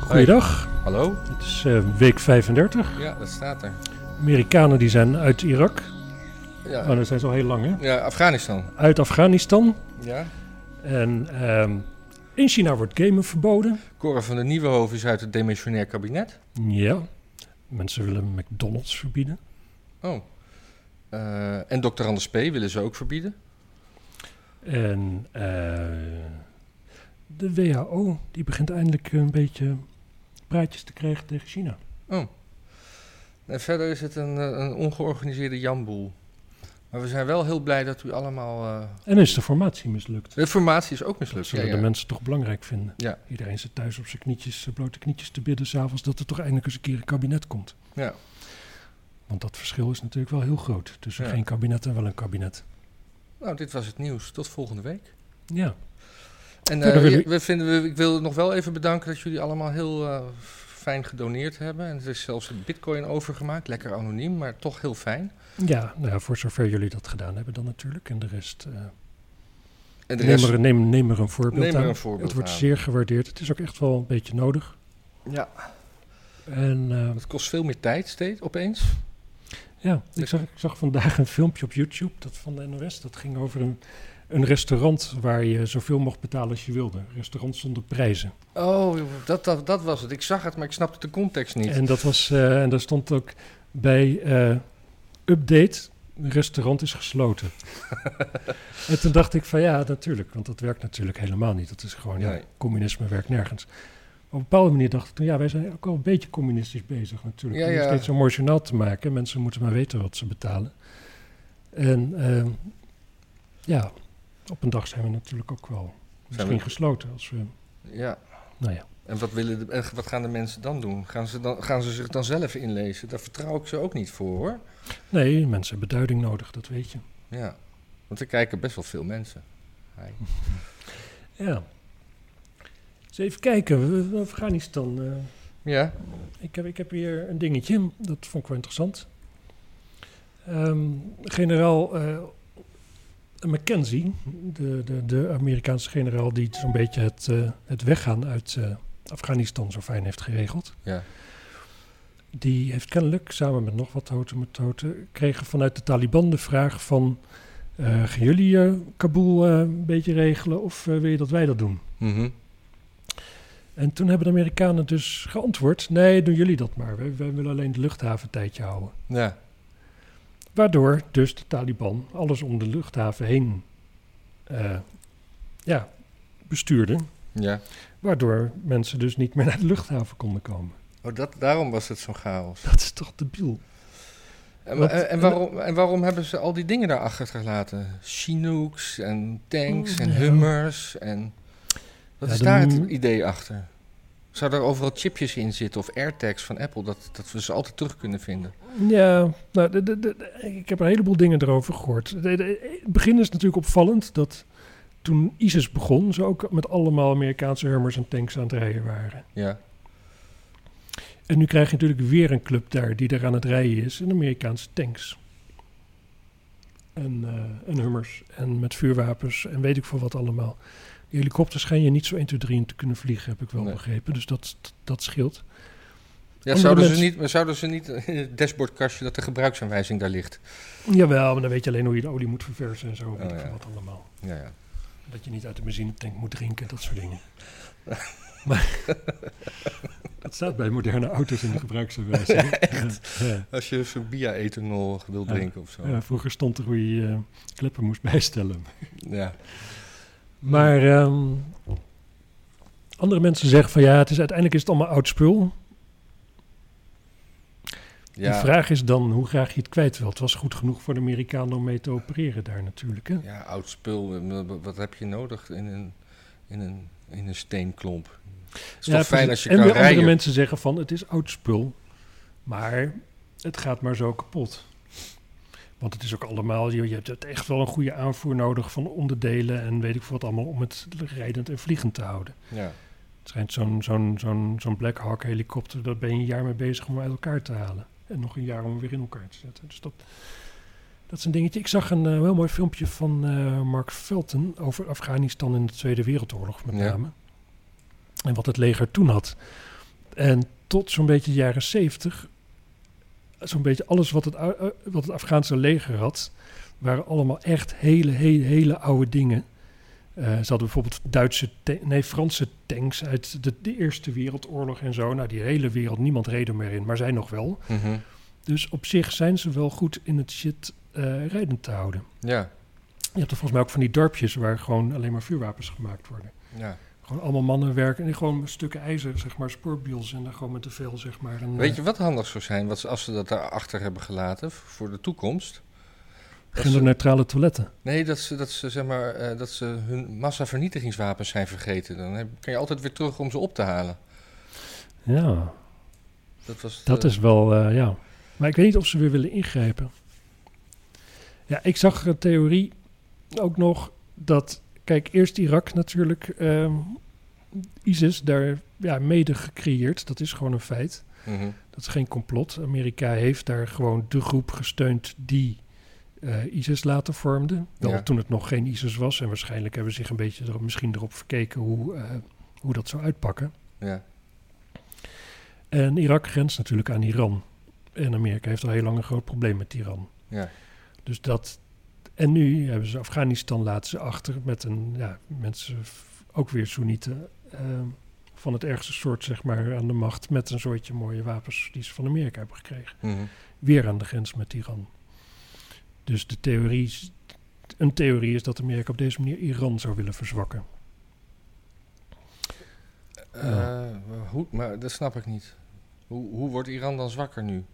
Goeiedag, Hallo? het is eh, week 35. Ja, dat staat er. Amerikanen die zijn uit Irak, Ja, oh, dat zijn ze al heel lang hè, ja Afghanistan. uit Afghanistan. Ja. En ehm, in China wordt gamen verboden. Cora van der Nieuwenhoven is uit het demissionair kabinet. Ja, mensen willen McDonald's verbieden. Oh. Eh, en dokter Anders P. willen ze ook verbieden. En eh, de WHO, die begint eindelijk een beetje praatjes te krijgen tegen China. Oh. En verder is het een, eh, een ongeorganiseerde jamboel. Maar we zijn wel heel blij dat u allemaal... eh, En is de formatie mislukt. De formatie is ook mislukt. Dat zullen ja, ja. de mensen toch belangrijk vinden. Ja. Iedereen zit thuis op zijn knietjes, eh, blote knietjes te bidden s'avonds dat er toch eindelijk eens een keer een kabinet komt. Ja. Want dat verschil is natuurlijk wel heel groot. Tussen Ja. geen kabinet en wel een kabinet. Nou, dit was het nieuws. Tot volgende week. Ja, En Verder eh, wil ik- we vinden, we, ik wil nog wel even bedanken dat jullie allemaal heel eh, fijn gedoneerd hebben. En er is zelfs bitcoin overgemaakt. Lekker anoniem, maar toch heel fijn. ja, nou ja voor zover jullie dat gedaan hebben dan natuurlijk. En de rest, eh, En de neem, rest, er, neem, neem er een voorbeeld neem aan. er een voorbeeld het wordt aan. zeer gewaardeerd. Het is ook echt wel een beetje nodig. Ja. En eh, Het kost veel meer tijd steeds, opeens. ja, ik zag, ik zag vandaag een filmpje op YouTube dat van de NOS. Dat ging over een, een restaurant waar je zoveel mocht betalen als je wilde. Een restaurant zonder prijzen. Oh, dat, dat, dat was het. Ik zag het, maar ik snapte de context niet. En, dat was, eh, en daar stond ook bij eh, update, restaurant is gesloten. en toen dacht ik van ja, natuurlijk, want dat werkt natuurlijk helemaal niet. Dat is gewoon, ja, Nee. communisme werkt nergens. Op een bepaalde manier dacht ik toen, ja, wij zijn ook al een beetje communistisch bezig natuurlijk. Ja, Om het ja. steeds zo'n mooi journaal te maken. Mensen moeten maar weten wat ze betalen. En eh, ja, op een dag zijn we natuurlijk ook wel misschien we- gesloten. Als we, Ja. nou ja, En wat, willen de, en wat gaan de mensen dan doen? Gaan ze, dan, gaan ze zich dan zelf inlezen? Daar vertrouw ik ze ook niet voor, hoor. nee, mensen hebben duiding nodig, dat weet je. Ja. Want er kijken best wel veel mensen. Hi. Ja. Dus even kijken, we- we- Afghanistan. eh, Ja. ik, heb, ik heb hier een dingetje, dat vond ik wel interessant. Ehm, generaal eh, Mackenzie, de, de, de Amerikaanse generaal die zo'n beetje het, eh, het weggaan uit eh, Afghanistan zo fijn heeft geregeld. Ja. Die heeft kennelijk, samen met nog wat houten met houten, kregen vanuit de Taliban de vraag van... eh, gaan jullie eh, Kabul eh, een beetje regelen of eh, wil je dat wij dat doen? Mhm. En toen hebben de Amerikanen dus geantwoord: nee, doen jullie dat maar. Wij, wij willen alleen de luchthaven een tijdje houden. Ja. Waardoor dus de Taliban alles om de luchthaven heen eh, ja, bestuurde. Ja. Waardoor mensen dus niet meer naar de luchthaven konden komen. Oh, dat, daarom was het zo'n chaos. Dat is toch debiel? En, Want- en, en waarom, en waarom hebben ze al die dingen daar achter gelaten? Chinooks en tanks en Ja. hummers en... Wat Oh, Ja, is de daar m- het idee achter? Zou er overal chipjes in zitten of AirTags van Apple, dat, dat we ze altijd terug kunnen vinden? Ja, nou, de- de- de- ik heb een heleboel dingen erover gehoord. De- de- het begin is natuurlijk opvallend dat toen ISIS begon, ze ook met allemaal Amerikaanse hummers en tanks aan het rijden waren. Ja, En nu krijg je natuurlijk weer een club daar die daar aan het rijden is. En Amerikaanse tanks. En, eh, en hummers. En met vuurwapens. En weet ik veel wat allemaal. Die helikopters schijn je niet zo 1, 2, 3 in te kunnen vliegen, heb ik wel Nee. begrepen. Dus dat, dat scheelt. ja Andere zouden, ze mensen- niet, maar zouden ze niet in het dashboardkastje dat de gebruiksaanwijzing daar ligt? Jawel, maar dan weet je alleen hoe je de olie moet verversen en zo. Weet Oh, ik veel ja. wat allemaal. Ja, ja. Dat je niet uit de benzinetank moet drinken, dat soort dingen. maar dat staat bij moderne auto's in de gebruiksaanwijzing. Ja, ja. Als je Subia ethanol wil Ja. drinken of zo. Ja, vroeger stond er hoe je eh, kleppen moest bijstellen. Ja. Maar ehm, andere mensen zeggen van ja, het is, uiteindelijk is het allemaal oud spul. De Ja. vraag is dan hoe graag je het kwijt wilt. Het was goed genoeg voor de Amerikanen om mee te opereren daar natuurlijk. Hè? ja, oud spul, eh, w- wat heb je nodig in een, in een, in een steenklomp? Het is toch fijn precies. als je en kan weer andere rijden. mensen zeggen van het is oud spul, maar het gaat maar zo kapot. Want het is ook allemaal, je je hebt het echt wel een goede aanvoer nodig van onderdelen en weet ik veel wat allemaal om het rijdend en vliegend te houden. Ja. Het schijnt zo'n zo'n zo'n zo'n Black Hawk helikopter, daar ben je een jaar mee bezig om uit elkaar te halen. En nog een jaar om hem weer in elkaar te zetten. Dus dat, dat is een dingetje. Ik zag een eh, heel mooi filmpje van eh, Mark Felton over Afghanistan in de Tweede Wereldoorlog met Ja. name. En wat het leger toen had. En tot zo'n beetje de jaren zeventig, zo'n beetje alles wat het, Au- eh, wat het Afghaanse leger had, waren allemaal echt hele, hele, hele oude dingen. Eh, ze hadden bijvoorbeeld Duitse ta- nee, Franse tanks uit de, de Eerste Wereldoorlog en zo. Nou, die hele wereld, niemand reed er meer in, maar zij nog wel. Mhm. Dus op zich zijn ze wel goed in het shit eh rijdend te houden. Ja, Je hebt er volgens mij ook van die dorpjes waar gewoon alleen maar vuurwapens gemaakt worden. ja. Gewoon allemaal mannen werken en gewoon stukken ijzer, zeg maar, spoorbiels en dan gewoon met te veel, zeg maar. Een, eh, Weet je wat handig zou zijn wat ze, als ze dat daarachter hebben gelaten v- voor de toekomst? eh, Dat ze- genderneutrale toiletten. nee, dat ze, dat, ze, zeg maar, eh, dat ze hun massavernietigingswapens zijn vergeten. Dan heb- kan je altijd weer terug om ze op te halen. Ja, Dat, was het, dat eh, is wel, eh, ja. Maar ik weet niet of ze weer willen ingrijpen. Ja, ik zag een theorie ook nog dat, kijk, eerst Irak natuurlijk, ehm, ISIS daar ja, mede gecreëerd, dat is gewoon een feit. mhm. Dat is geen complot. Amerika heeft daar gewoon de groep gesteund die eh, ISIS later vormde. Wel Ja. toen het nog geen ISIS was. En waarschijnlijk hebben ze zich een beetje erop, misschien erop verkeken hoe, eh, hoe dat zou uitpakken. ja. En Irak grenst natuurlijk aan Iran. En Amerika heeft al heel lang een groot probleem met Iran. Ja. Dus dat. En nu hebben ze Afghanistan laten ze achter met een. Ja, mensen, f- ook weer Soenieten. eh, van het ergste soort, zeg maar, aan de macht. Met een soortje mooie wapens die ze van Amerika hebben gekregen mhm. weer aan de grens met Iran. Dus de theorie, is- een theorie is dat Amerika op deze manier Iran zou willen verzwakken. Ja. Eh, hoe, maar dat snap ik niet. Hoe, hoe wordt Iran dan zwakker nu?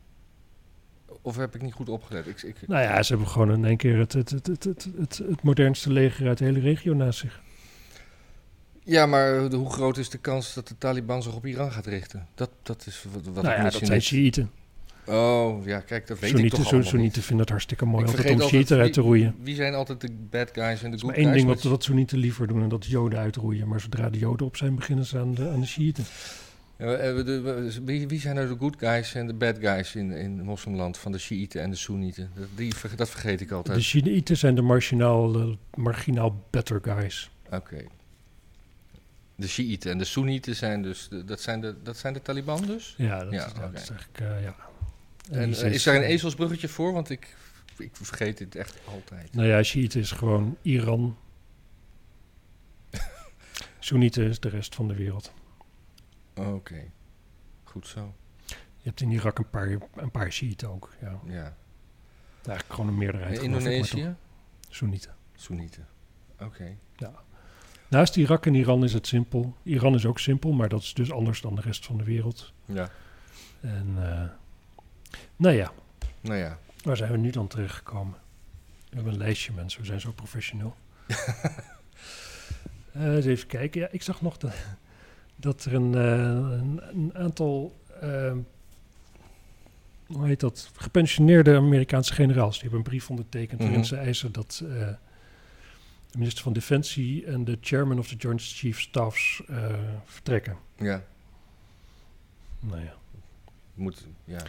Of heb ik niet goed opgelet? Ik, ik, Nou ja, ze hebben gewoon in één keer het, het, het, het, het, het, het modernste leger uit de hele regio naast zich. Ja, maar de- hoe groot is de kans dat de Taliban zich op Iran gaat richten? Dat, dat is wat, wat nou ik ja, dat misschien zijn niet- Shiiten. Oh, ja, kijk, dat weet ik Soenieten toch zo, allemaal niet. Soenieten vinden het hartstikke mooi Ik altijd om vergeet altijd Shiiten uit te roeien. Wie zijn altijd de bad guys en de Er is good maar één guys? ding wat, met- wat Soenieten liever doen en dat is Joden uitroeien. Maar zodra de Joden op zijn, beginnen ze aan de, aan de Shiiten. Ja, eh, we- de- we- Wie, wie zijn nou de good guys en de bad guys in, in moslimland van de Shiiten en de Soenieten? Dat, die, ver- dat vergeet ik altijd. De Shiiten zijn de marginaal, eh, marginaal better guys. Oké. De Shiiten en de Soenieten zijn dus, de- dat zijn de, dat zijn de Taliban dus? Ja, dat, Ja, is, dat oké. is eigenlijk, eh, ja. En, eh, ISIS. is daar een ezelsbruggetje voor? Want ik, ik vergeet dit echt altijd. Nou ja, Shiiten is gewoon Iran. Soenieten is de rest van de wereld. Oké, goed zo. Je hebt in Irak een paar, een paar Shiiten ook. Ja. Nou, Ja. Eigenlijk gewoon een meerderheid. En geloof ik, maar Indonesië? toch Soenieten. Soenieten. Oké. Naast Irak en Iran is het simpel. Iran is ook simpel, maar dat is dus anders dan de rest van de wereld. Ja. En eh, nou ja, Nou ja. waar zijn we nu dan terechtgekomen? We hebben een lijstje mensen, we zijn zo professioneel. Eh, eens even kijken. Ja, ik zag nog dat, dat er een, eh, een, een aantal, eh, hoe heet dat, gepensioneerde Amerikaanse generaals. Die hebben een brief ondertekend waarin Mhm. ze eisen dat eh, de minister van Defensie en de chairman of the Joint Chief Staffs eh, vertrekken. Ja. Nou ja, Moet, ja.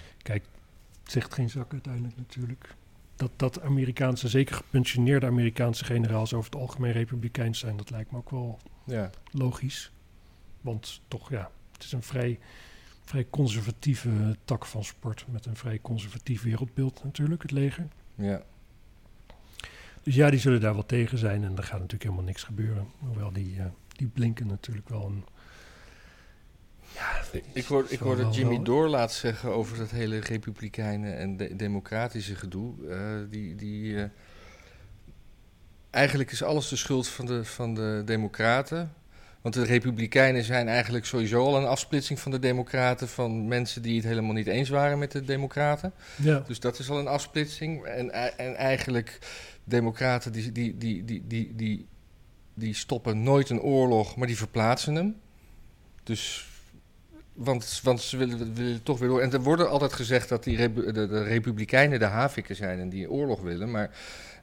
zegt geen zak uiteindelijk natuurlijk. Dat, dat Amerikaanse, zeker gepensioneerde Amerikaanse generaals over het algemeen republikeins zijn, dat lijkt me ook wel Ja. logisch. Want toch, ja, het is een vrij, vrij conservatieve tak van sport. Met een vrij conservatief wereldbeeld natuurlijk, het leger. Ja. Dus ja, die zullen daar wel tegen zijn. En er gaat natuurlijk helemaal niks gebeuren. Hoewel die, eh, die blinken natuurlijk wel een. Ik, ik hoorde, ik Zal hoorde wel Jimmy wel. Door laatst zeggen over dat hele republikeinen en de- democratische gedoe. eh, die, die, eh, eigenlijk is alles de schuld van de, van de democraten. Want de republikeinen zijn eigenlijk sowieso al een afsplitsing van de democraten... van mensen die het helemaal niet eens waren met de democraten. Ja, Dus dat is al een afsplitsing. En, e- en eigenlijk, democraten die, die, die, die, die, die, die stoppen nooit een oorlog, maar die verplaatsen hem. Dus, want, want ze willen, willen toch weer door. En er wordt altijd gezegd dat die repu- de, de republikeinen de haviken zijn en die oorlog willen. Maar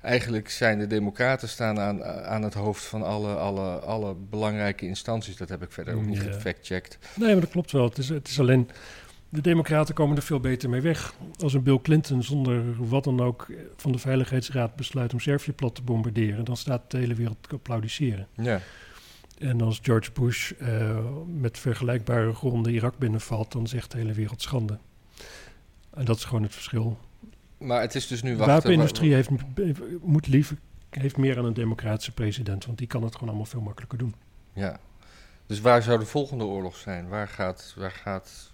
eigenlijk zijn de democraten staan aan, aan het hoofd van alle, alle, alle belangrijke instanties. Dat heb ik verder ook niet Mm, Ja. gefactcheckt. nee, maar dat klopt wel. Het is, het is alleen. De Democraten komen er veel beter mee weg. Als een Bill Clinton zonder wat dan ook van de Veiligheidsraad besluit om Servië plat te bombarderen, dan staat de hele wereld te applaudisseren. Ja, En als George Bush eh, met vergelijkbare gronden Irak binnenvalt, dan zegt de hele wereld schande. En dat is gewoon het verschil. Maar het is dus nu De wachten. wapenindustrie heeft, eh, moet liever, heeft meer aan een democratische president, want die kan het gewoon allemaal veel makkelijker doen. Ja. Dus waar zou de volgende oorlog zijn? Waar gaat, waar gaat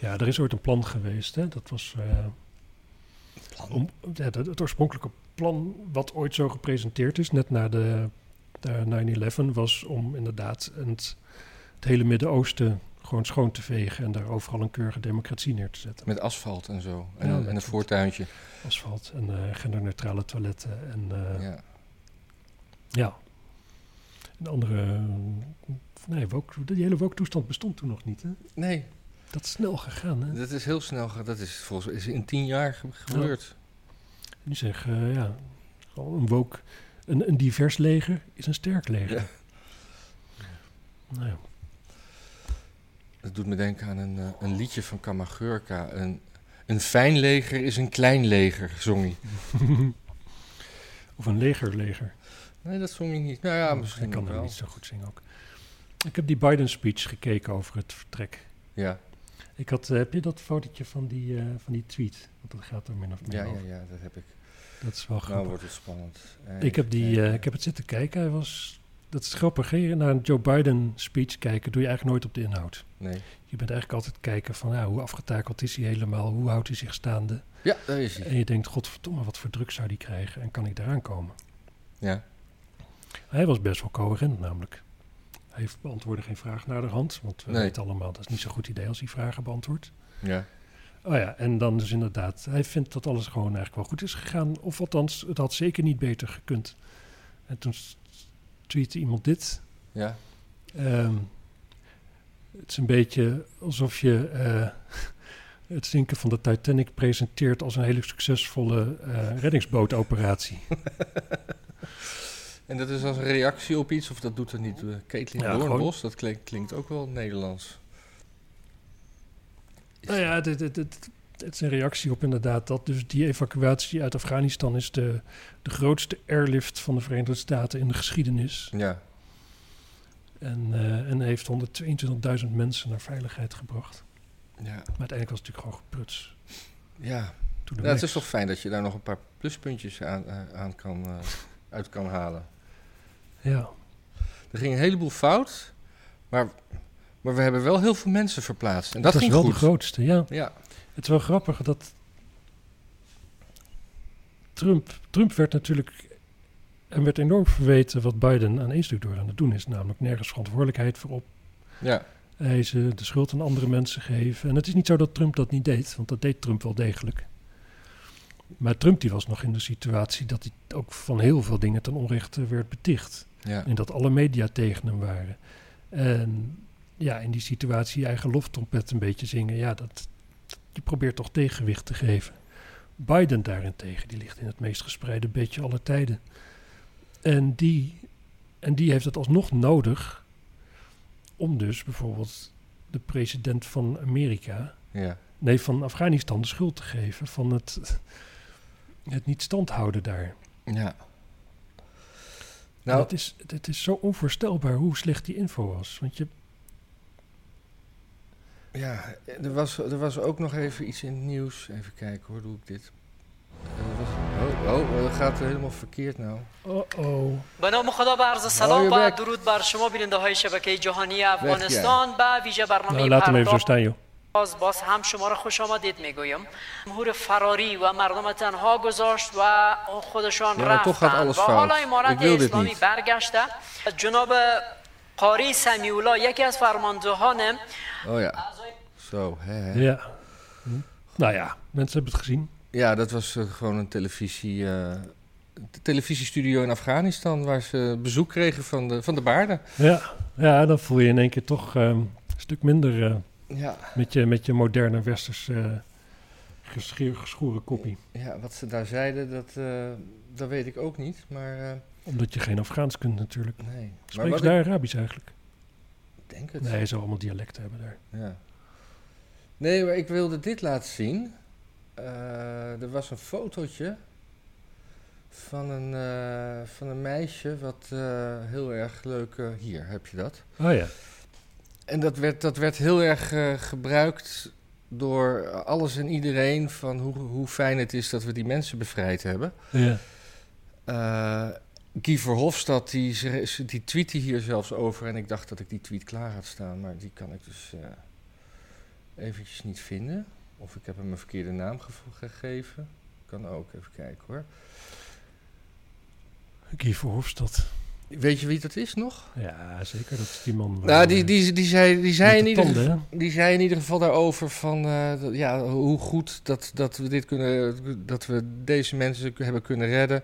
Ja, er is ooit een plan geweest. Hè? Dat was eh, om, ja, het, het oorspronkelijke plan wat ooit zo gepresenteerd is, net na de eh, 9-11, was om inderdaad het, het hele Midden-Oosten gewoon schoon te vegen en daar overal een keurige democratie neer te zetten. met asfalt en zo? En, Ja, en met een het- voortuintje. Asfalt en eh, genderneutrale toiletten en eh, ja. Ja. En andere... eh, Nee, woke, die hele woke-toestand bestond toen nog niet. Hè? Nee, Dat is snel gegaan. Hè? dat is heel snel. ge- Dat is volgens is in tien jaar ge- gebeurd. Die zeggen, eh, ja, gewoon een woke, een, een divers leger is een sterk leger. Ja. Nou ja. Dat doet me denken aan een, eh, een liedje van Kamagurka. Een, een fijn leger is een klein leger, zong hij. of een legerleger. Nee, dat zong hij niet. Nou ja, misschien Ik kan nog hem wel. niet zo goed zingen ook. Ik heb die Biden-speech gekeken over het vertrek. Ja. Ik had, eh, heb je dat fotootje van die, eh, van die tweet? Want dat gaat er min of meer Ja, ja, over. ja, dat heb ik. Dat is wel Nou grappig. wordt het spannend. Eh, ik, heb die, eh, eh, ik heb het zitten kijken. Hij was, dat is grappig. hè? Naar een Joe Biden-speech kijken doe je eigenlijk nooit op de inhoud. Nee. Je bent eigenlijk altijd kijken van ja, hoe afgetakeld is hij helemaal? Hoe houdt hij zich staande? Ja, daar is hij. En je denkt, godverdomme, wat voor druk zou die krijgen en kan ik daaraan komen? Ja. Hij was best wel coherent namelijk. Hij heeft- beantwoordde geen vraag naar de hand, want we Nee. weten allemaal, dat is niet zo'n goed idee als hij vragen beantwoordt. Ja. Oh ja, en dan dus inderdaad, hij vindt dat alles gewoon eigenlijk wel goed is gegaan, of althans, het had zeker niet beter gekund. En toen s- tweette iemand dit. Ja. ehm, het is een beetje alsof je eh, het zinken van de Titanic presenteert als een hele succesvolle eh, reddingsbootoperatie. En dat is als een reactie op iets, of dat doet er niet. eh Caitlin Ja, Doornbos, dat klinkt, klinkt ook wel Nederlands. Is- Nou ja, het, het, het, het- het is een reactie op inderdaad dat dus die evacuatie uit Afghanistan is de, de grootste airlift van de Verenigde Staten in de geschiedenis. ja. En, eh, en heeft 122.000 mensen naar veiligheid gebracht. Ja. Maar uiteindelijk was het natuurlijk gewoon gepruts. ja. Toen Nou, het is toch fijn dat je daar nog een paar pluspuntjes aan, eh, aan kan, eh, uit kan halen. Ja, Er ging een heleboel fout, maar, maar we hebben wel heel veel mensen verplaatst. En dat, het was ging wel goed. de grootste, ja. ja. Het is wel grappig dat Trump, Trump werd natuurlijk en werd enorm verweten wat Biden aan één stuk door aan het doen is. Namelijk nergens verantwoordelijkheid voor op. ja. Hij ze de schuld aan andere mensen geven. En het is niet zo dat Trump dat niet deed, want dat deed Trump wel degelijk. Maar Trump die was nog in de situatie dat hij ook van heel veel dingen ten onrechte werd beticht. Ja. En dat alle media tegen hem waren. En ja, in die situatie je eigen loftrompet een beetje zingen, ja, dat, je probeert toch tegenwicht te geven. Biden daarentegen, die ligt in het meest gespreide bedje aller tijden. En die, en die heeft het alsnog nodig om dus bijvoorbeeld de president van Amerika, ja. nee, van Afghanistan de schuld te geven van het, het niet standhouden daar. Ja. Nou, Nou, dat is, het is zo onvoorstelbaar hoe slecht die info was. Want je, ja, er was, er was ook nog even iets in het nieuws. Even kijken hoor, doe ik dit. Er was- oh, oh, dat gaat helemaal verkeerd nou. oh-oh. به نام خدا و عرض آقای سلام و بک. درود بر شما بیننده های شبکه جهانی افغانستان به ویژه Nou, برنامه laat hem even zo پرتاب staan, joh. باز باز هم شما را خوش آمدید میگویم جمهور فراری و مردم تنها گذاشت و خودشان نه، نه، یعنی تو خط رفتن و آلس حالا فاوت. امارت اگه یادت اسلامی نیست. برگشته جناب قاری سمیولا یکی از فرماندهان Oh ja, zo. Hè, hè. Ja. Nou ja, mensen hebben het gezien. Ja, dat was eh, gewoon een televisie, eh, t- televisiestudio in Afghanistan... waar ze bezoek kregen van de, van de baarden. Ja, ja dan voel je in één keer toch ehm, een stuk minder eh, Ja, met, je, met je moderne westerse eh, gescheer- geschoren koppie. ja wat ze daar zeiden, dat, eh, dat weet ik ook niet. Maar eh, Omdat je geen Afghaans kunt natuurlijk. nee. Maar Spreken wat ze daar Arabisch eigenlijk? ik denk het. Nee, hij zou allemaal dialecten hebben daar. Ja. Nee, maar ik wilde dit laten zien. Eh, er was een fotootje van een, eh, van een meisje wat eh, heel erg leuk... eh, hier heb je dat. Ah ja. En dat werd, dat werd heel erg eh, gebruikt door alles en iedereen... van hoe, hoe fijn het is dat we die mensen bevrijd hebben. ja. Eh Guy Verhofstadt, die, ze- die tweette hier zelfs over. En ik dacht dat ik die tweet klaar had staan. Maar die kan ik dus eh eventjes niet vinden. Of ik heb hem een verkeerde naam gevo- gegeven. Kan ook, even kijken hoor. Guy Verhofstadt. Weet je wie dat is nog? Ja, zeker. Dat is die man. waar- Nou, die, die, die zei, die zei met in de ieder geval... tanden, hè? Die zei in ieder geval daarover van eh, dat- ja, hoe goed dat, dat we dit kunnen, dat we deze mensen k- hebben kunnen redden.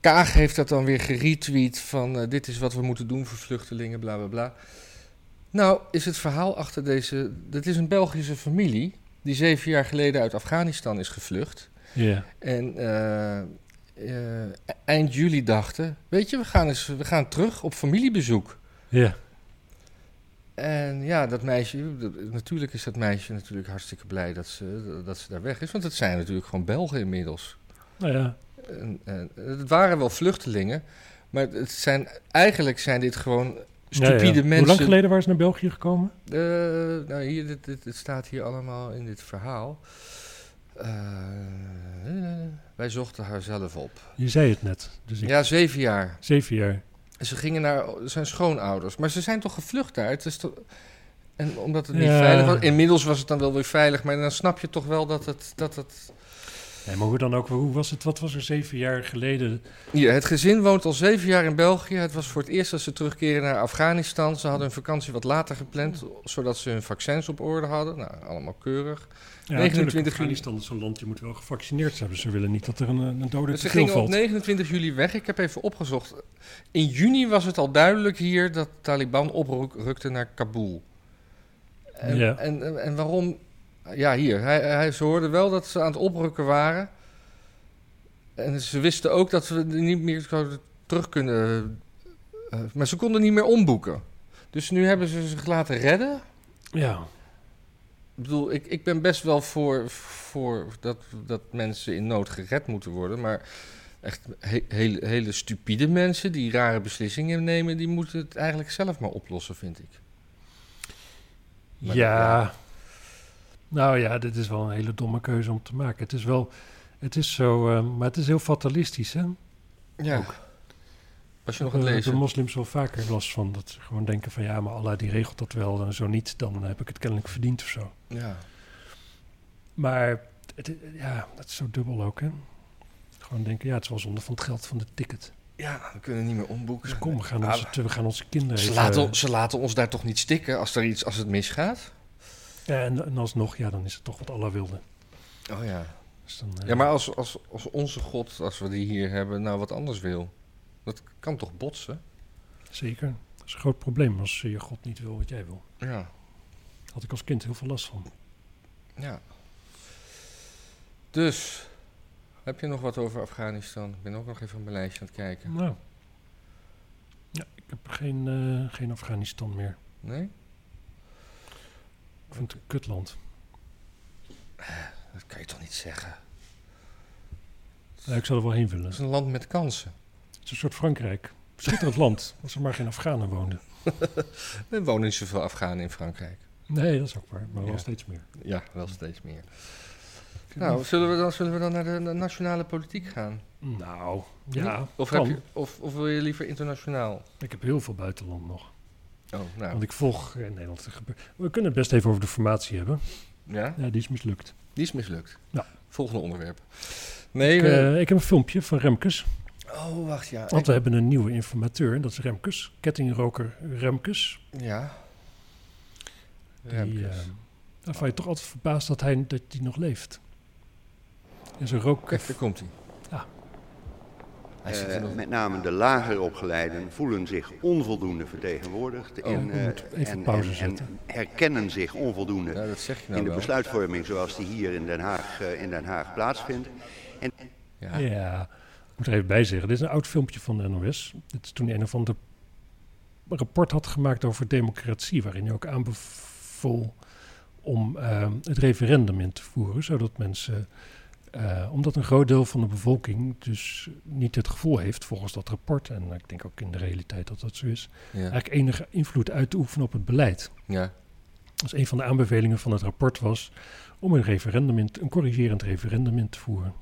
Kaag heeft dat dan weer geretweet van eh, dit is wat we moeten doen voor vluchtelingen, bla bla bla. Nou, is het verhaal achter deze. Dat is een Belgische familie die zeven jaar geleden uit Afghanistan is gevlucht. Ja. En eh, eh, eind juli dachten: Weet je, we gaan, eens, we gaan terug op familiebezoek. Ja. En ja, dat meisje, dat- natuurlijk is dat meisje natuurlijk hartstikke blij dat ze, dat ze daar weg is. Want het zijn natuurlijk gewoon Belgen inmiddels. Nou ja. En, en, het waren wel vluchtelingen, maar het zijn, eigenlijk zijn dit gewoon stupide Ja, ja. Hoe lang mensen. geleden waren ze naar België gekomen? Eh, nou, hier, dit, dit, dit staat hier allemaal in dit verhaal. Eh, wij zochten haar zelf op. Je zei het net. Dus ik, Ja, zeven jaar. Zeven jaar. Ze gingen naar zijn schoonouders. Maar ze zijn toch gevlucht daar? Het is toch... En omdat het niet Ja. veilig was. Inmiddels was het dan wel weer veilig. Maar dan snap je toch wel dat het. Dat het... Nee, maar hoe dan ook, hoe was het? Wat was er zeven jaar geleden? Ja, het gezin woont al zeven jaar in België. Het was voor het eerst dat ze terugkeren naar Afghanistan. Ze hadden hun vakantie wat later gepland. Zodat ze hun vaccins op orde hadden. Nou, allemaal keurig. Ja, 29 natuurlijk, juni. Afghanistan is zo'n land, je moet wel gevaccineerd zijn. Dus ze willen niet dat er een, een dode Dus te ze veel gingen op valt. 29 juli weg. Ik heb even opgezocht. In juni was het al duidelijk hier dat de Taliban oprukte naar Kabul. En, Ja. en, en waarom? Ja, hier. Hij, hij, ze hoorden wel dat ze aan het oprukken waren. En ze wisten ook dat ze niet meer zouden terug kunnen. eh, maar ze konden niet meer omboeken. Dus nu hebben ze zich laten redden. Ja, Ik bedoel, ik, ik ben best wel voor, voor dat, dat mensen in nood gered moeten worden. Maar echt he- hele, hele stupide mensen die rare beslissingen nemen, die moeten het eigenlijk zelf maar oplossen, vind ik. ja. Maar ja. Nou ja, dit is wel een hele domme keuze om te maken. Het is wel, het is zo, eh, maar het is heel fatalistisch. Hè? Ja. Was je nog Eh, aan het de lezen? moslims wel vaker last van dat ze gewoon denken van ja, maar Allah die regelt dat wel en zo niet, dan heb ik het kennelijk verdiend of zo. Ja. Maar het, ja, dat is zo dubbel ook, hè? Gewoon denken, ja, het is wel zonde van het geld van de ticket. ja, we kunnen niet meer omboeken. Dus kom, we gaan Ah, onze, we gaan onze kinderen ze, even- laten, on- ze laten ons daar toch niet stikken als, er iets, als het misgaat? Ja, en, en alsnog, ja, dan is het toch wat Allah wilde. Oh ja. Dus dan, eh, Ja, maar als, als, als onze God, als we die hier hebben, nou wat anders wil. Dat kan toch botsen? Zeker. Dat is een groot probleem als eh, je God niet wil wat jij wil. Ja. Had ik als kind heel veel last van. Ja. Dus, heb je nog wat over Afghanistan? Ik ben ook nog even op mijn lijstje aan het kijken. Nou. Ja, ik heb geen, eh, geen Afghanistan meer. Nee? Ik vind het een kutland. Dat kan je toch niet zeggen? Ja, ik zou er wel heen willen. Dat is een land met kansen. Het is een soort Frankrijk. Schitterend land, als er maar geen Afghanen woonden. Er wonen niet zoveel Afghanen in Frankrijk. Nee, dat is ook waar, maar wel Ja. steeds meer. Ja, wel steeds meer. Nou, zullen we dan, zullen we dan naar de na- nationale politiek gaan? Nou, ja. Of, heb kan. je, of, of wil je liever internationaal? Ik heb heel veel buitenland nog. Oh, nou. Want ik volg eh, Nederland. er gebeurt- We kunnen het best even over de formatie hebben. Ja, Ja, die is mislukt. die is mislukt. Ja. Volgende onderwerp. Nee, Ik, we- eh, ik heb een filmpje van Remkes. Oh, wacht, ja. Want ik- we hebben een nieuwe informateur. En dat is Remkes. Kettingroker Remkes. ja. Die, Remkes. eh, Daarvan je toch altijd verbaasd dat hij dat die nog leeft. En zijn rook... Kijk, daar komt hij. Ja. Hij zit er Eh, nog met name de lager opgeleiden voelen zich onvoldoende vertegenwoordigd Oh, Ja, in, ik eh, moet even en, pauze en- en zetten. herkennen zich onvoldoende Ja, dat zeg je nou in de wel. besluitvorming zoals die hier in Den Haag, eh, in Den Haag plaatsvindt. En Ja. Ja. ik moet er even bij zeggen. Dit is een oud filmpje van de NOS. Dit is toen hij een of ander rapport had gemaakt over democratie. Waarin hij ook ehm, aanbevoel om eh, het referendum in te voeren. Zodat mensen eh, Eh, omdat een groot deel van de bevolking dus niet het gevoel heeft, volgens dat rapport, en ik denk ook in de realiteit dat dat zo is, Ja. eigenlijk enige invloed uit te oefenen op het beleid. ja. Dus een van de aanbevelingen van het rapport was om een referendum, in, te- een corrigerend referendum in te voeren.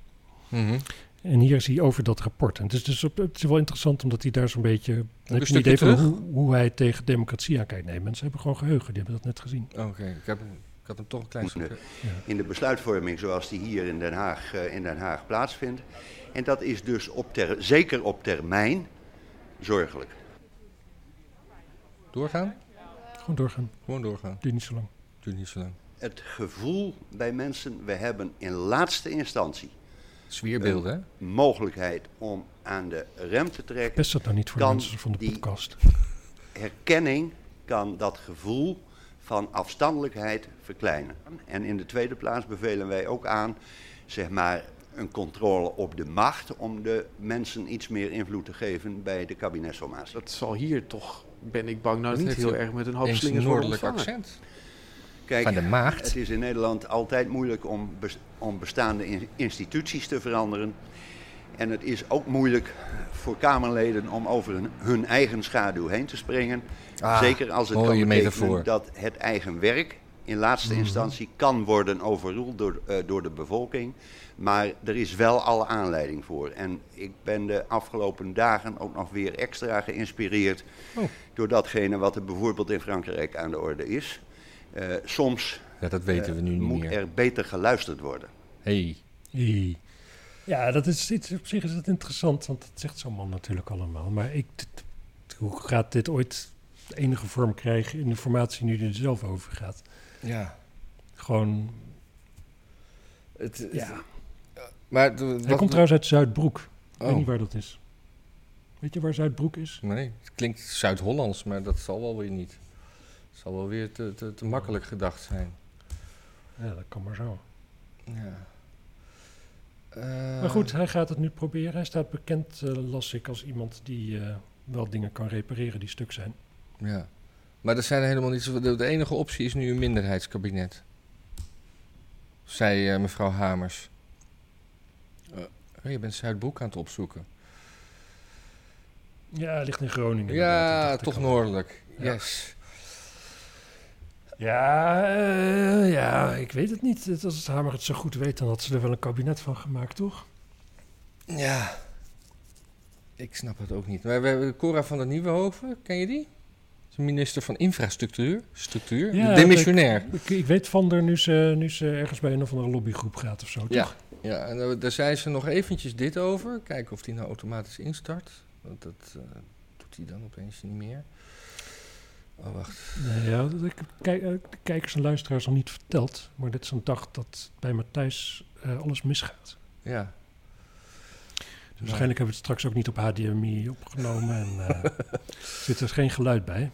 Mhm. En hier zie je over dat rapport. En het is dus op- het is wel interessant omdat hij daar zo'n beetje. Dan heb je stukje een idee van terug? hoe, hoe hij tegen democratie aankijkt. Nee, mensen hebben gewoon geheugen. Die hebben dat net gezien. Oké, ik, heb hem- ik had hem toch een klein Nee. stukje. in de besluitvorming zoals die hier in Den Haag, eh, in Den Haag plaatsvindt. En dat is dus op ter, zeker op termijn zorgelijk. Doorgaan? Gewoon doorgaan. Gewoon doorgaan. Duurt niet zo lang. Duurt niet zo lang. Het gevoel bij mensen, we hebben in laatste instantie Sfeerbeelden, hè? mogelijkheid om aan de rem te trekken. Pest dat nou niet voor de Dan mensen van de die- podcast. Herkenning kan dat gevoel van afstandelijkheid verkleinen. En in de tweede plaats bevelen wij ook aan, zeg maar, een controle op de macht om de mensen iets meer invloed te geven bij de kabinetsformatie. Dat zal hier toch, ben ik bang, nou Dat niet heeft heel een- erg met een Eens hapslingers worden noordelijk ontvangen. accent. Kijk, Van de maagd. het is in Nederland altijd moeilijk om, bes- om bestaande in- instituties te veranderen. En het is ook moeilijk voor Kamerleden om over hun, hun eigen schaduw heen te springen. Ah, Zeker als het mooie kan betekenen metafoor. Mhm. dat het eigen werk in laatste instantie kan worden overroeld door, eh, door de bevolking. Maar er is wel alle aanleiding voor. En ik ben de afgelopen dagen ook nog weer extra geïnspireerd Oh. door datgene wat er bijvoorbeeld in Frankrijk aan de orde is. Eh, soms Ja, dat weten we nu eh, niet moet meer. er beter geluisterd worden. Hey. Ie. Ja, dat is, dit- op zich is het interessant, want dat zegt zo'n man natuurlijk allemaal. Maar ik, dit- hoe gaat dit ooit enige vorm krijgen in de formatie nu die er zelf over gaat? Ja. Gewoon, Het, het- ja. Maar d- Hij wat- komt trouwens uit Zuidbroek. Ik weet Oh. niet waar dat is. Weet je waar Zuidbroek is? Nee, het klinkt Zuid-Hollands, maar dat zal wel weer niet. Het zal wel weer te, te, te makkelijk gedacht zijn. Ja, dat kan maar zo. Ja. Maar goed, hij gaat het nu proberen. Hij staat bekend, eh, las ik, als iemand die eh, wel dingen kan repareren die stuk zijn. Ja. Maar er zijn helemaal niet zoveel. De, de enige optie is nu een minderheidskabinet. Zei eh, mevrouw Hamers. Eh, oh, je bent Zuidbroek aan het opzoeken. Ja, hij ligt in Groningen. inderdaad, dat Ja, dacht ik toch al. noordelijk. Ja. Yes. Ja, eh, ja, ik weet het niet. Het- Als het Hamer het zo goed weet, dan had ze er wel een kabinet van gemaakt, toch? Ja. Ik snap het ook niet. Maar we hebben Cora van der Nieuwenhoven, ken je die? Dat is een minister van Infrastructuur. Structuur. Ja, De demissionair. Ik, ik weet van haar nu ze, nu ze ergens bij een of andere lobbygroep gaat of zo, Ja, toch? ja, en eh, daar zei ze nog eventjes dit over. Kijken of die nou automatisch instart. Want dat eh, doet hij dan opeens niet meer. Oh, wacht. Nee, ja, dat ik kijk, eh, de kijkers en luisteraars nog niet verteld. Maar dit is een dag dat bij Matthijs eh, alles misgaat. Ja. Dus waarschijnlijk hebben we het straks ook niet op HDMI opgenomen. En eh, zit er geen geluid bij.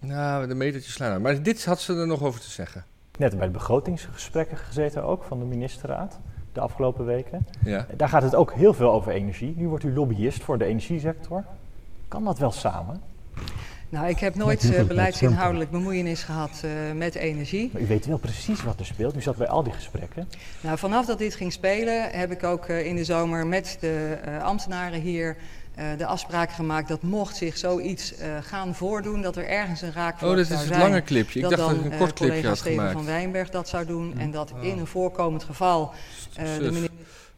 Nou, de metertjes slaan uit. Maar dit had ze er nog over te zeggen. net bij de begrotingsgesprekken gezeten ook van de ministerraad de afgelopen weken. Ja. Daar gaat het ook heel veel over energie. Nu wordt u lobbyist voor de energiesector. Kan dat wel samen? Nou, ik heb nooit eh, beleidsinhoudelijk bemoeienis gehad eh, met energie. Maar u weet wel precies wat er speelt. U zat bij al die gesprekken. Nou, vanaf dat dit ging spelen heb ik ook eh, in de zomer met de eh, ambtenaren hier eh, de afspraak gemaakt dat mocht zich zoiets eh, gaan voordoen, dat er ergens een raakvlak Oh, dit is zou het zijn. lange clipje. Ik dat dacht dat dan ik een eh, kort clipje collega had Steven gemaakt. van Wijnberg dat zou doen en dat in Ah. een voorkomend geval eh, de Suf. minister...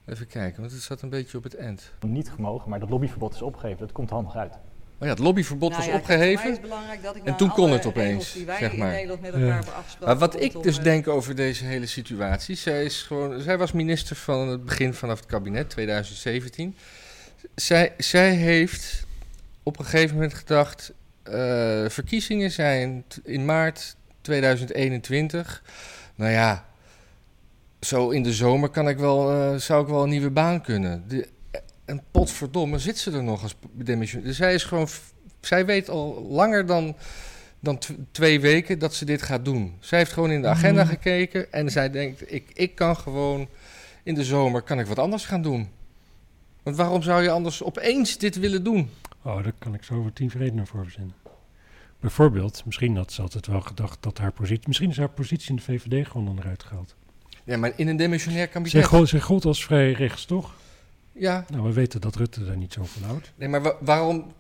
Even kijken, want het zat een beetje op het eind. Niet gemogen, maar dat lobbyverbod is opgeheven. Dat komt handig uit. Oh ja, het lobbyverbod Nou was ja, kijk, voor mij is opgeheven. het belangrijk dat ik En na toen kon alle het opeens, regels die wij zeg in maar. Nederland met Ja. elkaar hebben afgesproken, Maar wat rondom, ik dus eh, denk over deze hele situatie, zij, is gewoon, zij was minister van het begin vanaf het kabinet, 2017. Zij, zij heeft op een gegeven moment gedacht, eh, verkiezingen zijn t- in maart 2021. Nou ja, zo in de zomer kan ik wel, eh, zou ik wel een nieuwe baan kunnen. De, en potverdomme zit ze er nog als demission. Dus zij is gewoon, f- zij weet al langer dan dan tw- twee weken dat ze dit gaat doen. Zij heeft gewoon in de agenda Mhm. gekeken en zij denkt: ik, ik kan gewoon in de zomer kan ik wat anders gaan doen. Want waarom zou je anders opeens dit willen doen? Oh, daar kan ik zo over tien redenen voor verzinnen. Bijvoorbeeld, misschien had ze altijd wel gedacht dat haar positie... Misschien is haar positie in de VVD gewoon onderuit gehaald. Ja, maar in een demissionair kabinet. Zij gold, zij gold als vrij rechts, toch? Ja, Nou, we weten dat Rutte daar niet zo van houdt. nee, maar wa- waarom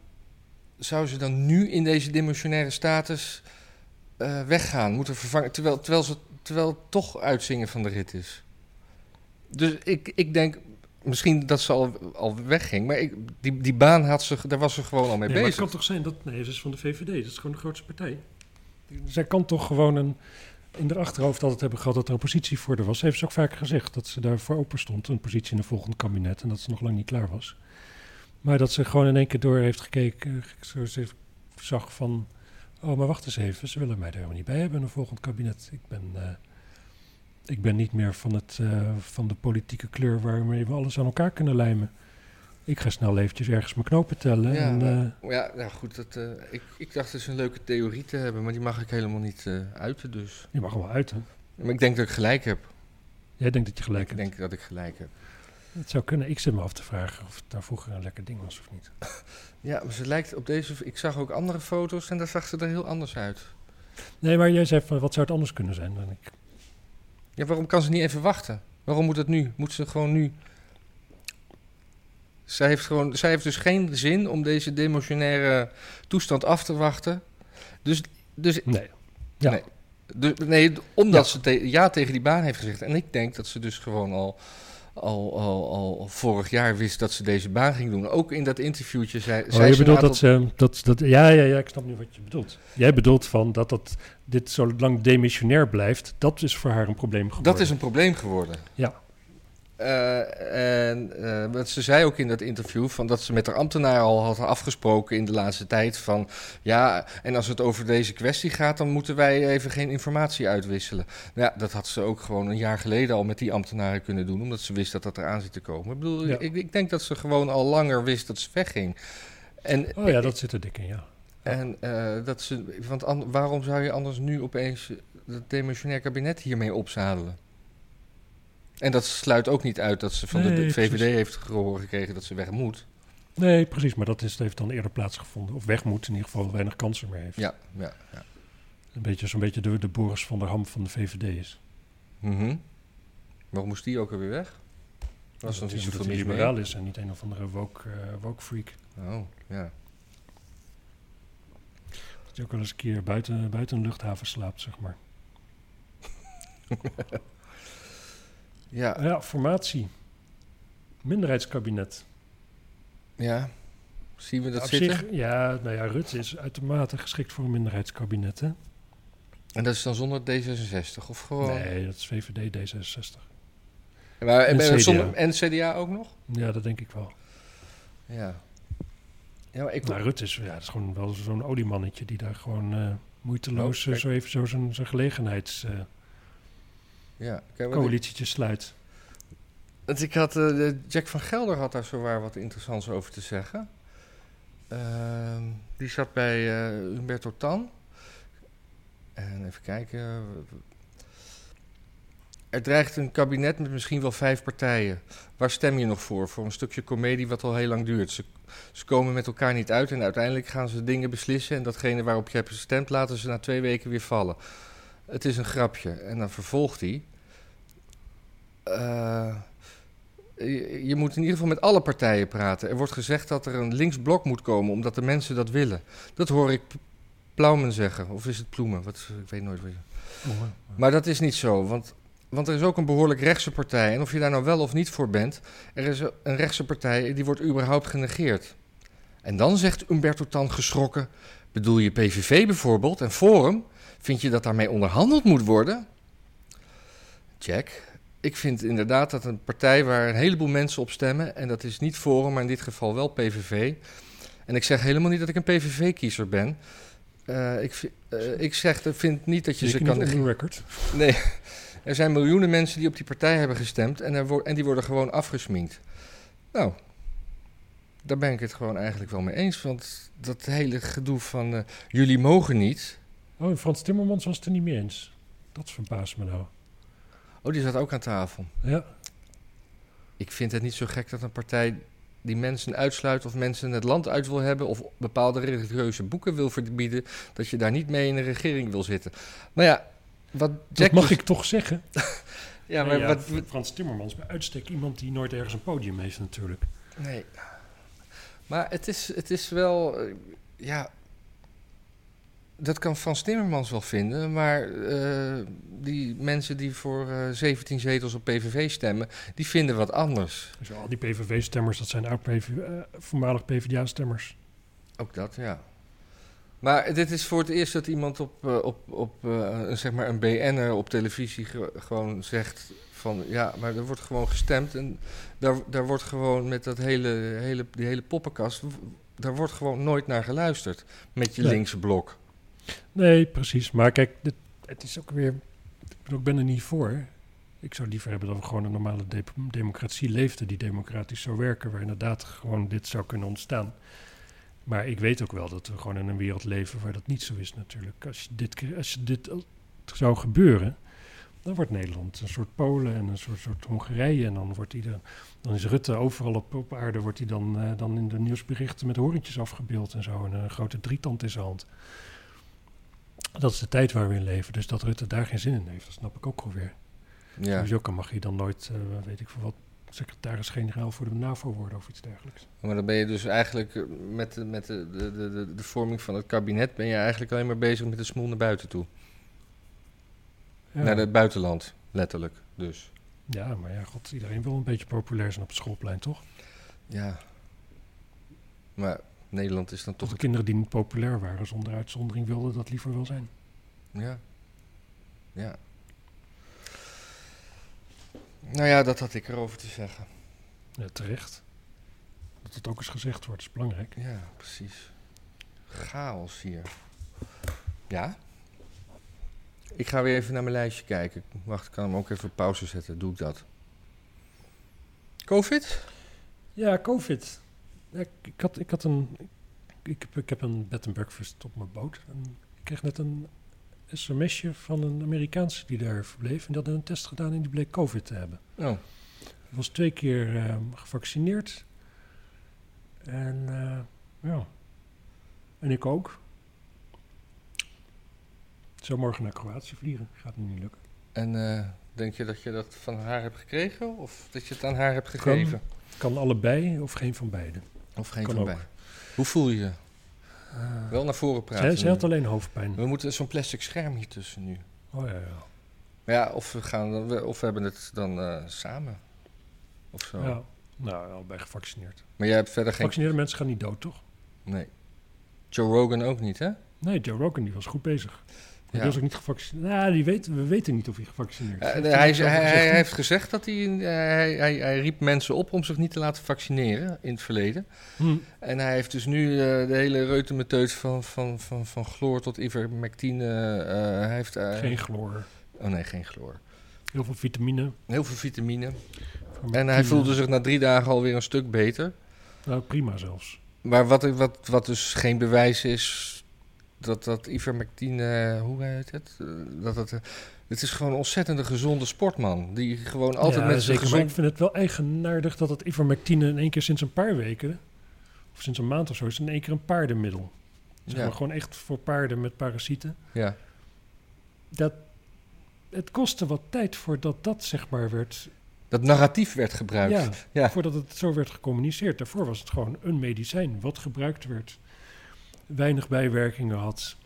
zou ze dan nu in deze demissionaire status eh, weggaan? Moeten vervangen, terwijl, terwijl, ze, terwijl het toch uitzingen van de rit is. Dus ik, ik denk misschien dat ze al, al wegging, maar ik, die, die baan had ze, daar was ze gewoon al mee Nee, maar het bezig. kan toch zijn dat... Nee, ze is van de VVD. Dat is gewoon de grootste partij. Zij kan toch gewoon een, in haar achterhoofd altijd hebben gehad... dat er een positie voor haar was. Ze heeft ze ook vaak gezegd dat ze daarvoor open stond. Een positie in een volgend kabinet. En dat ze nog lang niet klaar was. Maar dat ze gewoon in één keer door heeft gekeken. eh, Zo ze zag van... Oh, maar wacht eens even. Ze willen mij er helemaal niet bij hebben in een volgend kabinet. Ik ben... eh, ik ben niet meer van, het, eh, van de politieke kleur waarmee we alles aan elkaar kunnen lijmen. Ik ga snel eventjes ergens mijn knopen tellen. Ja, en, maar- eh, Ja, ja, goed, dat, eh, ik, ik dacht dus een leuke theorie te hebben, maar die mag ik helemaal niet eh, uiten dus. Je mag hem wel uiten. Maar ik denk dat ik gelijk heb. Jij denkt dat je gelijk Ik hebt. denk dat ik gelijk heb. Het zou kunnen. Ik zit me af te vragen of het daar vroeger een lekker ding was of niet. Ja, maar ze lijkt op deze. Ik zag ook andere foto's en daar zag ze er heel anders uit. Nee, maar jij zei van wat zou het anders kunnen zijn dan ik. Ja, waarom kan ze niet even wachten? Waarom moet het nu? Moet ze gewoon nu. Zij heeft, gewoon, zij heeft dus geen zin om deze demotionaire toestand af te wachten. Dus, dus Nee. Ja. Nee. Dus, nee, omdat Ja. ze te- ja tegen die baan heeft gezegd. En ik denk dat ze dus gewoon al, al, al, al vorig jaar wist dat ze deze baan ging doen. Ook in dat interviewtje zei, zei Oh, je ze een bedoelt aantal- dat ze... Dat, dat, ja, ja, ja, ik snap nu wat je bedoelt. Jij bedoelt van dat, dat dit zo lang demissionair blijft. Dat is voor haar een probleem geworden. Dat is een probleem geworden. Ja. Eh, en eh, wat ze zei ook in dat interview van dat ze met haar ambtenaar al had afgesproken in de laatste tijd van ja, en als het over deze kwestie gaat, dan moeten wij even geen informatie uitwisselen. Nou Ja, dat had ze ook gewoon een jaar geleden al met die ambtenaren kunnen doen, omdat ze wist dat dat eraan zit te komen. Ik bedoel, Ja. ik, ik denk dat ze gewoon al langer wist dat ze wegging. En, Oh ja, dat zit er dik in, ja. en eh, dat ze, want an- waarom zou je anders nu opeens het demissionair kabinet hiermee opzadelen? En dat sluit ook niet uit dat ze van de, Nee, de VVD precies. heeft gehoord gekregen dat ze weg moet. Nee, precies. Maar dat is, heeft dan eerder plaatsgevonden. Of weg moet in ieder geval weinig kansen meer heeft. Ja, ja. ja. Een beetje zo'n beetje de, de Boris van der Ham van de VVD is. Mhm. Waarom moest die ook alweer weg? Was dat er niet hij zoveel omdat hij mis mee? liberaal is en niet een of andere woke, eh, woke freak. Oh, ja. Dat je ook wel eens een keer buiten, buiten een luchthaven slaapt, zeg maar. Ja, Nou Ja, formatie. Minderheidskabinet. ja. Zien we dat Op zitten? zich, ja, nou ja, Rutte is uitermate geschikt voor een minderheidskabinet, hè? En dat is dan zonder D66 of gewoon? Nee, dat is VVD D66. Maar, En en, en CDA. zonder, en CDA ook nog? Ja, dat denk ik wel. Ja. Ja, maar ik, Maar Rutte is, ja, dat is gewoon wel zo'n oliemannetje die daar gewoon eh, moeiteloos Oh, eh, kijk. zo even zo zijn, zijn eh, gelegenheidscoalitietje ja, kijk, wat ik- sluit. Want ik had, eh, de- Jack van Gelder had daar zowaar wat interessants over te zeggen. Ehm, die zat bij eh, Humberto Tan. En even kijken. eh, Er dreigt een kabinet met misschien wel vijf partijen. Waar stem je nog voor? Voor een stukje komedie wat al heel lang duurt. Ze, ze komen met elkaar niet uit en uiteindelijk gaan ze dingen beslissen. En datgene waarop je hebt gestemd laten ze na twee weken weer vallen. Het is een grapje. En dan vervolgt hij. Eh, je, je moet in ieder geval met alle partijen praten. Er wordt gezegd dat er een linksblok moet komen, omdat de mensen dat willen. Dat hoor ik P- Ploumen zeggen. Of is het Ploemen? Wat, ik weet nooit wat je... Oh, Maar dat is niet zo, want, want er is ook een behoorlijk rechtse partij. En of je daar nou wel of niet voor bent, er is een rechtse partij die wordt überhaupt genegeerd. En dan zegt Umberto Tan geschrokken, bedoel je PVV bijvoorbeeld en Forum? Vind je dat daarmee onderhandeld moet worden? Check. Ik vind inderdaad dat een partij waar een heleboel mensen op stemmen, en dat is niet Forum, maar in dit geval wel PVV. En ik zeg helemaal niet dat ik een PVV-kiezer ben. Eh, ik, vi- eh, ik zeg, ik vind niet dat je Zeker ze niet kan on the negeren. record. Nee, er zijn miljoenen mensen die op die partij hebben gestemd en, er wo- en die worden gewoon afgesminkt. Nou, daar ben ik het gewoon eigenlijk wel mee eens. Want dat hele gedoe van eh, jullie mogen niet. Oh, en Frans Timmermans was het er niet mee eens. Dat verbaast me nou. Oh, die zat ook aan tafel. Ja, Ik vind het niet zo gek dat een partij die mensen uitsluit of mensen het land uit wil hebben of bepaalde religieuze boeken wil verbieden, dat je daar niet mee in de regering wil zitten. Maar ja, wat Jack dat mag dus- ik toch zeggen. Ja, maar Nee, ja, wat, Fr- Frans Timmermans bij uitstek iemand die nooit ergens een podium heeft natuurlijk. Nee. Maar het is, het is wel. eh, ja. Dat kan Frans Timmermans wel vinden. Maar eh, die mensen die voor eh, 17 zetels op PVV stemmen. die vinden wat anders. Dus al die PVV-stemmers, dat zijn oud PV, eh, voormalig PvdA-stemmers. Ook dat, ja. Maar dit is voor het eerst dat iemand op, eh, op, op eh, een, zeg maar een BN'er op televisie ge- gewoon zegt van ja, maar er wordt gewoon gestemd en daar, daar wordt gewoon met dat hele, hele, die hele poppenkast, w- daar wordt gewoon nooit naar geluisterd met je Nee. linkse blok. Nee, precies. Maar kijk, dit- het is ook weer... Ik bedoel, ik ben er niet voor. Ik zou liever hebben dat we gewoon een normale de- democratie leefden... die democratisch zou werken, waar inderdaad gewoon dit zou kunnen ontstaan. Maar ik weet ook wel dat we gewoon in een wereld leven waar dat niet zo is natuurlijk. Als je dit, ke- als je dit al- zou gebeuren, dan wordt Nederland een soort Polen en een soort, soort Hongarije. En dan, wordt ieder, dan is Rutte overal op, op aarde, wordt hij dan, eh, dan in de nieuwsberichten met horentjes afgebeeld en zo. En een grote drietand in zijn hand. Dat is de tijd waar we in leven. Dus dat Rutte daar geen zin in heeft, dat snap ik ook alweer. weer. Ja, Sowieso kan, mag hij dan nooit, eh, weet ik veel wat, secretaris-generaal voor de NAVO worden of iets dergelijks. maar dan ben je dus eigenlijk eh, met, de- met de, de, de, de, de vorming van het kabinet ben je eigenlijk alleen maar bezig met de smoel naar buiten toe. Ja. Naar het buitenland, letterlijk dus. Ja, maar ja, god, iedereen wil een beetje populair zijn op het schoolplein, toch? Ja. Maar Nederland is dan Toch toch de kinderen die niet populair waren zonder uitzondering wilden dat liever wel zijn. Ja. Ja. Nou ja, dat had ik erover te zeggen. Ja, terecht. Dat het ook eens gezegd wordt, is belangrijk. Ja, precies. Chaos hier. Ja? Ik ga weer even naar mijn lijstje kijken. Wacht, ik kan hem ook even op pauze zetten. Doe ik dat. Covid? Ja, COVID. Ja, ik, ik had, ik had een. Ik heb, ik heb een bed and breakfast op mijn boot. En ik kreeg net een sms'je van een Amerikaanse die daar verbleef. En die had een test gedaan en die bleek COVID te hebben. Oh, Hij was twee keer ehm, gevaccineerd. En eh, ja. En ik ook. Ik zou morgen naar Kroatië vliegen. Gaat nu niet lukken. en eh, denk je dat je dat van haar hebt gekregen? Of dat je het aan haar hebt gegeven? Kan allebei of geen van beide. Of geen Kan van ook. beiden? Hoe voel je je? Eh, Wel naar voren praten. zij, zij nu. had alleen hoofdpijn. We moeten zo'n plastic scherm hier tussen nu. Oh ja, ja. Maar Ja, of we, gaan, we- of we hebben het dan eh, samen. Of zo. ja. Nou, allebei gevaccineerd. Maar jij hebt verder geen... Gevaccineerde mensen gaan niet dood, toch? Nee. Joe Rogan ook niet, hè? Nee, Joe Rogan die was goed bezig. Hij Ja. was ook niet gevaccineerd. Nou, die weet, we weten niet of hij gevaccineerd is. Eh, Heeft nee, hij hij, niks over hij, hij gezegd? heeft gezegd dat hij, eh, hij, hij... Hij riep mensen op om zich niet te laten vaccineren in het verleden. Hm. En hij heeft dus nu eh, de hele reutemeteut van, van, van, van chloor tot ivermectine... eh, hij heeft... eh, Geen chloor. Oh nee, geen chloor. Heel veel vitamine. Heel veel vitamine. En hij vermectine. voelde zich na drie dagen alweer een stuk beter. Nou, prima zelfs. Maar wat, wat, wat dus geen bewijs is, dat dat ivermectine, eh, hoe heet het? Eh, Dat het, eh, het is gewoon een ontzettende gezonde sportman. Die gewoon altijd Ja, met zijn zeker. Maar ik gezond... vind het wel eigenaardig dat het ivermectine in één keer sinds een paar weken... of sinds een maand of zo is, in één keer een paardenmiddel. Zeg Ja. maar gewoon echt voor paarden met parasieten. Ja, Dat, het kostte wat tijd voordat dat zeg maar werd... dat narratief werd gebruikt. Ja, Ja. voordat het zo werd gecommuniceerd. Daarvoor was het gewoon een medicijn wat gebruikt werd. Weinig bijwerkingen had.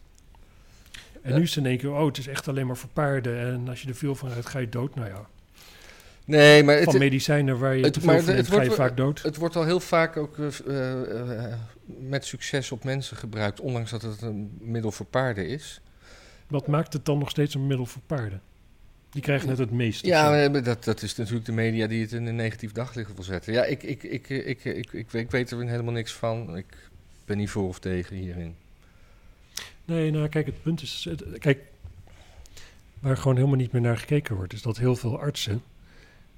En Ja. nu is het in één keer, oh, het is echt alleen maar voor paarden. En als je er veel van uit, ga je dood. Nou ja, Nee, maar van het, medicijnen waar je het- te maar veel het- van neemt, het ga je wordt- vaak dood. het wordt al heel vaak ook eh, v- eh, eh, met succes op mensen gebruikt. Ondanks dat het een middel voor paarden is. Wat maakt het dan nog steeds een middel voor paarden? Die krijgen het het meest. of Ja, zo. maar dat, dat is natuurlijk de media die het in een negatief daglicht wil zetten. Ja, ik, ik, ik, ik, ik, ik, ik, ik weet er helemaal niks van. Ik ben niet voor of tegen hierin. Nee, nou kijk, het punt is... het- kijk, waar gewoon helemaal niet meer naar gekeken wordt... is dat heel veel artsen...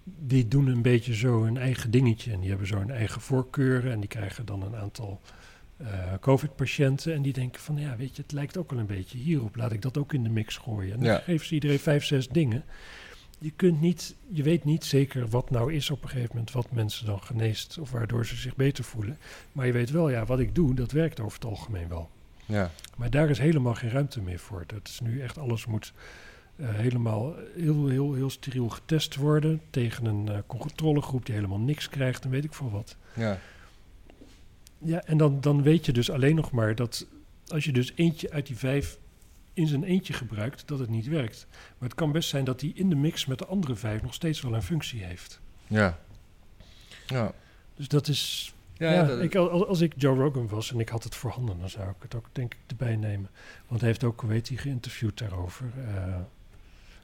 die doen een beetje zo hun eigen dingetje... en die hebben zo hun eigen voorkeuren... en die krijgen dan een aantal eh, covid-patiënten... en die denken van, ja, weet je, het lijkt ook wel een beetje hierop... laat ik dat ook in de mix gooien. En dan Ja. geven ze iedereen vijf, zes dingen... Je, kunt niet, je weet niet zeker wat nou is op een gegeven moment, wat mensen dan geneest of waardoor ze zich beter voelen. Maar je weet wel, ja, wat ik doe, dat werkt over het algemeen wel. Ja. Maar daar is helemaal geen ruimte meer voor. Dat is nu echt alles moet eh, helemaal heel, heel, heel steriel getest worden tegen een eh, controlegroep die helemaal niks krijgt en weet ik veel wat. Ja. Ja, en dan, dan weet je dus alleen nog maar dat als je dus eentje uit die vijf in zijn eentje gebruikt, dat het niet werkt. Maar het kan best zijn dat die in de mix met de andere vijf nog steeds wel een functie heeft. Ja. Ja. Dus dat is. Ja, Ja, dat- ik, als, als ik Joe Rogan was en ik had het voorhanden, dan zou ik het ook denk ik erbij nemen. Want hij heeft ook, hoe heet hij, geïnterviewd daarover. eh,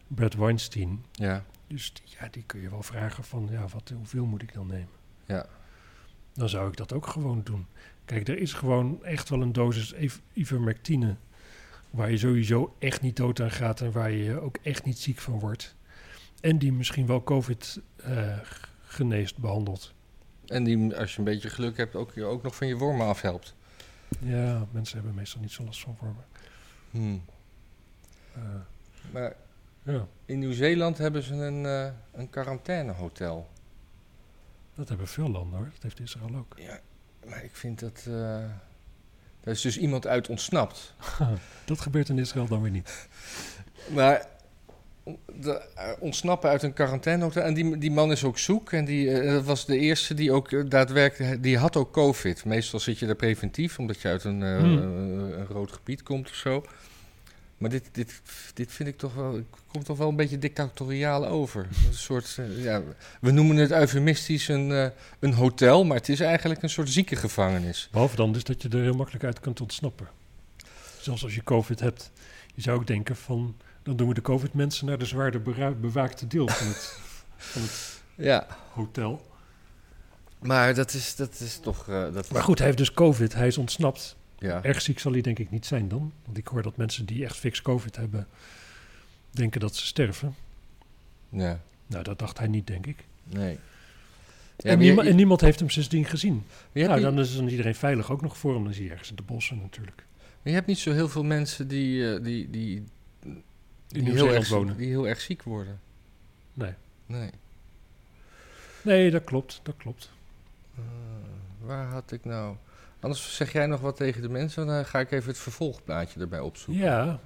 Brad Weinstein. ja. Dus die- ja, die kun je wel vragen van, ja, wat, hoeveel moet ik dan nemen? Ja. Dan zou ik dat ook gewoon doen. Kijk, er is gewoon echt wel een dosis iv- ivermectine... waar je sowieso echt niet dood aan gaat... en waar je ook echt niet ziek van wordt. En die misschien wel COVID eh, g- geneest, behandelt. En die, als je een beetje geluk hebt, ook, je ook nog van je wormen afhelpt. Ja, mensen hebben meestal niet zo last van vormen. Hmm. Eh, Maar ja, in Nieuw-Zeeland hebben ze een, eh een quarantainehotel. dat hebben veel landen hoor. Dat heeft Israël ook. Ja, maar ik vind dat... eh, daar is dus iemand uit ontsnapt. Dat gebeurt in Israël dan weer niet. Maar de, eh, ontsnappen uit een quarantainehotel. En die, die man is ook zoek. En die, eh, dat was de eerste die ook eh, daadwerkelijk... Die had ook covid. Meestal zit je daar preventief, omdat je uit een, eh, Hmm. eh, een rood gebied komt of zo. Maar dit, dit, dit vind ik toch wel... het komt toch wel een beetje dictatoriaal over. Een soort... eh, ja, we noemen het eufemistisch een, eh, een hotel. Maar het is eigenlijk een soort ziekengevangenis. Behalve dan dus dat je er heel makkelijk uit kunt ontsnappen. Zelfs als je COVID hebt. Je zou ook denken van... dan doen we de COVID-mensen naar de zwaarder bera- bewaakte deel van het Ja, hotel. maar dat is, dat is toch... eh, dat, Maar goed, hij heeft dus COVID. Hij is ontsnapt. Ja. Erg ziek zal hij denk ik niet zijn dan. Want ik hoor dat mensen die echt fix COVID hebben... denken dat ze sterven. ja, Nou, dat dacht hij niet, denk ik. nee. Ja, en, maar je- niema- en niemand heeft hem sindsdien gezien. je hebt nou, niet- dan is dan iedereen veilig ook nog voor hem. Dan zie je ergens in de bossen natuurlijk. Maar Je hebt niet zo heel veel mensen die, eh, die, die, die, heel, Nieuw-Zeeland erg, wonen. die heel erg ziek worden. Nee. Nee. Nee, dat klopt, dat klopt. Eh, waar had ik nou... Anders zeg jij nog wat tegen de mensen, dan eh, ga ik even het vervolgplaatje erbij opzoeken. Ja,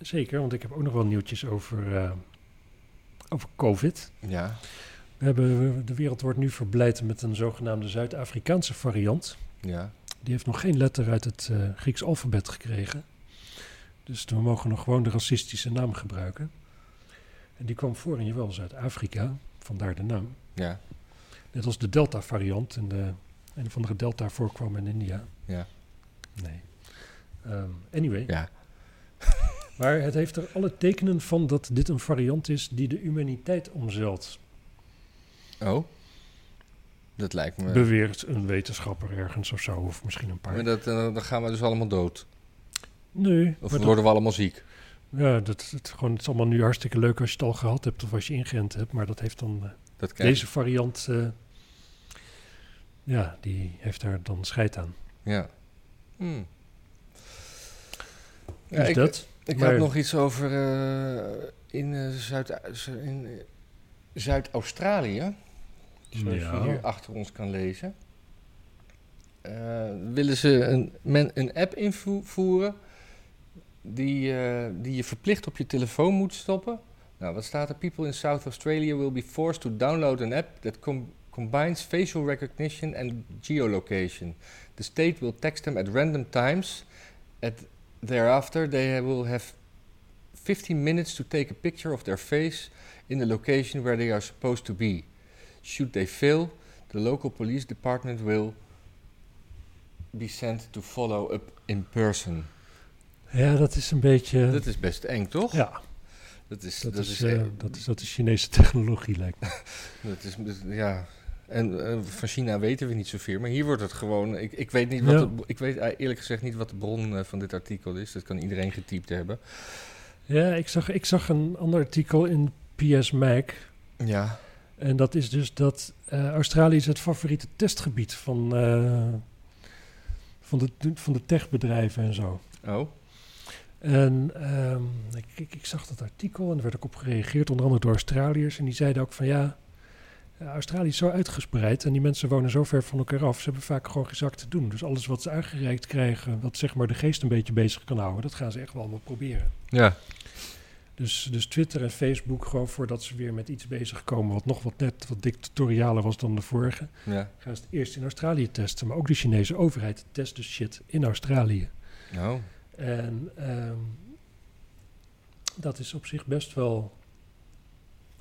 zeker, want ik heb ook nog wel nieuwtjes over, eh, over COVID. Ja. We hebben, we- de wereld wordt nu verblijd met een zogenaamde Zuid-Afrikaanse variant. Ja. Die heeft nog geen letter uit het eh, Grieks alfabet gekregen. Dus we mogen nog gewoon de racistische naam gebruiken. En die kwam voor in jawel Zuid-Afrika, vandaar de naam. Ja. Net als de Delta-variant. En de een of andere Delta voorkwam in India. Ja. Nee. Ehm, anyway. Ja. Maar het heeft er alle tekenen van dat dit een variant is die de humaniteit omzeilt. Oh. Dat lijkt me... Beweert een wetenschapper ergens of zo. Of misschien een paar. maar dat, eh, dan gaan we dus allemaal dood. nee. Of maar dat- worden we allemaal ziek. ja, dat, het, gewoon, het is allemaal nu hartstikke leuk als je het al gehad hebt of als je ingeënt hebt. Maar dat heeft dan... eh, Dat krijg deze variant... eh, ja, die heeft daar dan scheid aan. Ja. Hmm. Ja, dus ik- dat... Ik Maar- had nog iets over eh, in, eh, Zuid- Zu- in eh, Zuid-Australië. Zoals Ja. je hier achter ons kan lezen. Eh, willen ze een, men een app invoeren die, eh, die je verplicht op je telefoon moet stoppen. Nou, wat staat er? People in South Australia will be forced to download an app that com- combines facial recognition and geolocation. The state will text them at random times. At thereafter, they will have 15 minutes to take a picture of their face in the location where they are supposed to be. Should they fail, the local police department will be sent to follow up in person. Ja, dat is een beetje... Dat is best eng, toch? ja, Dat is, Dat, is, e- eh, dat, is, dat is Chinese technologie, lijkt me. Dat is, dat- ja. En eh, van China weten we niet zoveel, maar hier wordt het gewoon. Ik, ik weet, niet wat Ja. de- ik weet eh, eerlijk gezegd niet wat de bron eh, van dit artikel is. Dat kan iedereen getypt hebben. Ja, ik zag, ik zag een ander artikel in PS Mac. Ja. En dat is dus dat eh, Australië is het favoriete testgebied van, eh, van, de, van de techbedrijven en zo. Oh. En ehm, ik, ik, ik zag dat artikel en er werd ook op gereageerd, onder andere door Australiërs. En die zeiden ook van ja, eh, Australië is zo uitgespreid en die mensen wonen zo ver van elkaar af. Ze hebben vaak gewoon geen zak te doen. Dus alles wat ze aangereikt krijgen, wat zeg maar de geest een beetje bezig kan houden, dat gaan ze echt wel allemaal proberen. Ja. Dus, dus Twitter en Facebook, gewoon voordat ze weer met iets bezig komen, wat nog wat net wat dictatorialer was dan de vorige, Ja. gaan ze het eerst in Australië testen. Maar ook de Chinese overheid test dus shit in Australië. Nou, En ehm, dat is op zich best wel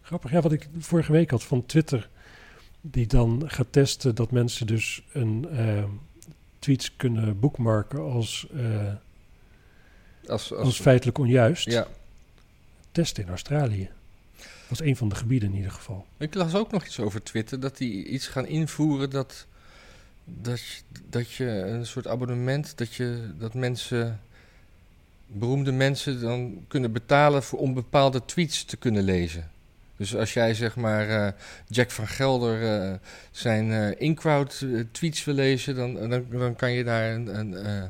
grappig. Ja, wat ik vorige week had van Twitter, die dan gaat testen dat mensen dus een ehm, tweets kunnen bookmarken als, eh, als, als, als feitelijk onjuist. Ja. Testen in Australië. Dat was een van de gebieden in ieder geval. Ik las ook nog iets over Twitter, dat die iets gaan invoeren dat, dat, je- dat je een soort abonnement, dat, je, dat mensen, beroemde mensen dan kunnen betalen voor onbepaalde tweets te kunnen lezen. Dus als jij zeg maar eh, Jack van Gelder eh, zijn eh in-crowd eh, tweets wil lezen, dan, dan, dan kan je daar een, een, eh,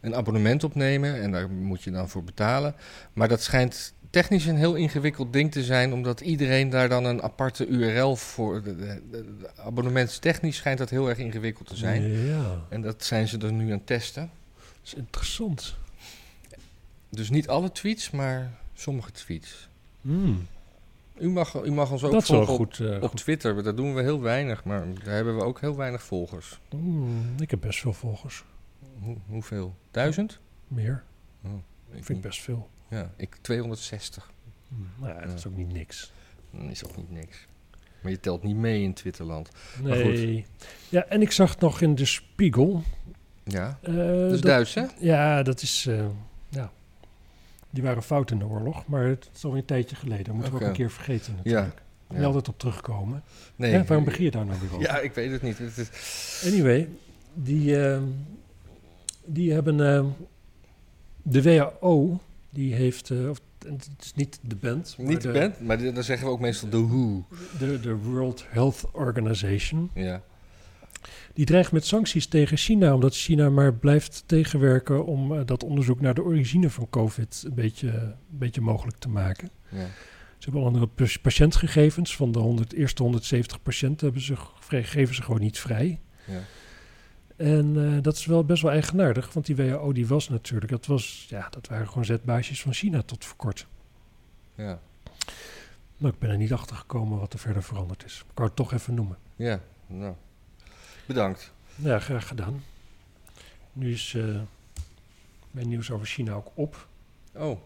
een abonnement op nemen en daar moet je dan voor betalen. Maar dat schijnt technisch een heel ingewikkeld ding te zijn, omdat iedereen daar dan een aparte URL voor. De, de, de- de- abonnementstechnisch schijnt dat heel erg ingewikkeld te zijn. Ja, En dat zijn ze er nu aan het testen. dat is interessant. Dus niet alle tweets, maar sommige tweets. Hmm, U mag, u mag ons ook dat is wel volgen op, goed. eh, op goed. Twitter. maar Dat doen we heel weinig, maar daar hebben we ook heel weinig volgers. Hmm, ik heb best veel volgers. Hoe- hoeveel? Duizend? Meer. Ik Vind ik niet. best veel. Ja, ik 260. Hmm, nou ja, dat is ook niet niks. Dan is dat niet niks. Maar je telt niet mee in Twitterland. Maar goed. Nee. Ja, en ik zag het nog in de Spiegel. Ja, Eh, dat is dat- Duits, hè? Ja, dat is. eh, ja. Die waren fout in de oorlog, maar het is al een tijdje geleden. Dat moeten we Oké. ook een keer vergeten. Natuurlijk. Ja. Ja. Niet altijd op terugkomen. Nee. ja, waarom begin je daar nou weer over? Ja, ik weet het niet. Het is- Anyway, die, ehm, die hebben. ehm, de WHO, die heeft. eh, of, het is niet de band. maar niet de band, maar de- dan zeggen we ook meestal de hoe. De, de World Health Organization. Ja. Die dreigt met sancties tegen China, omdat China maar blijft tegenwerken om eh, dat onderzoek naar de origine van COVID een beetje, een beetje mogelijk te maken. ja. Ze hebben al andere pa- patiëntgegevens. Van de 100, eerste 170 patiënten hebben ze, ge- vre- geven ze gewoon niet vrij. Ja. En eh, dat is wel best wel eigenaardig, want die WHO die was natuurlijk, dat, was, ja, dat waren gewoon zetbaasjes van China tot voor kort. Ja. Maar ik ben er niet achter gekomen wat er verder veranderd is. Ik wou het toch even noemen. Ja. Nou. Bedankt. Nou Ja, graag gedaan. Nu is eh, mijn nieuws over China ook op. Oh,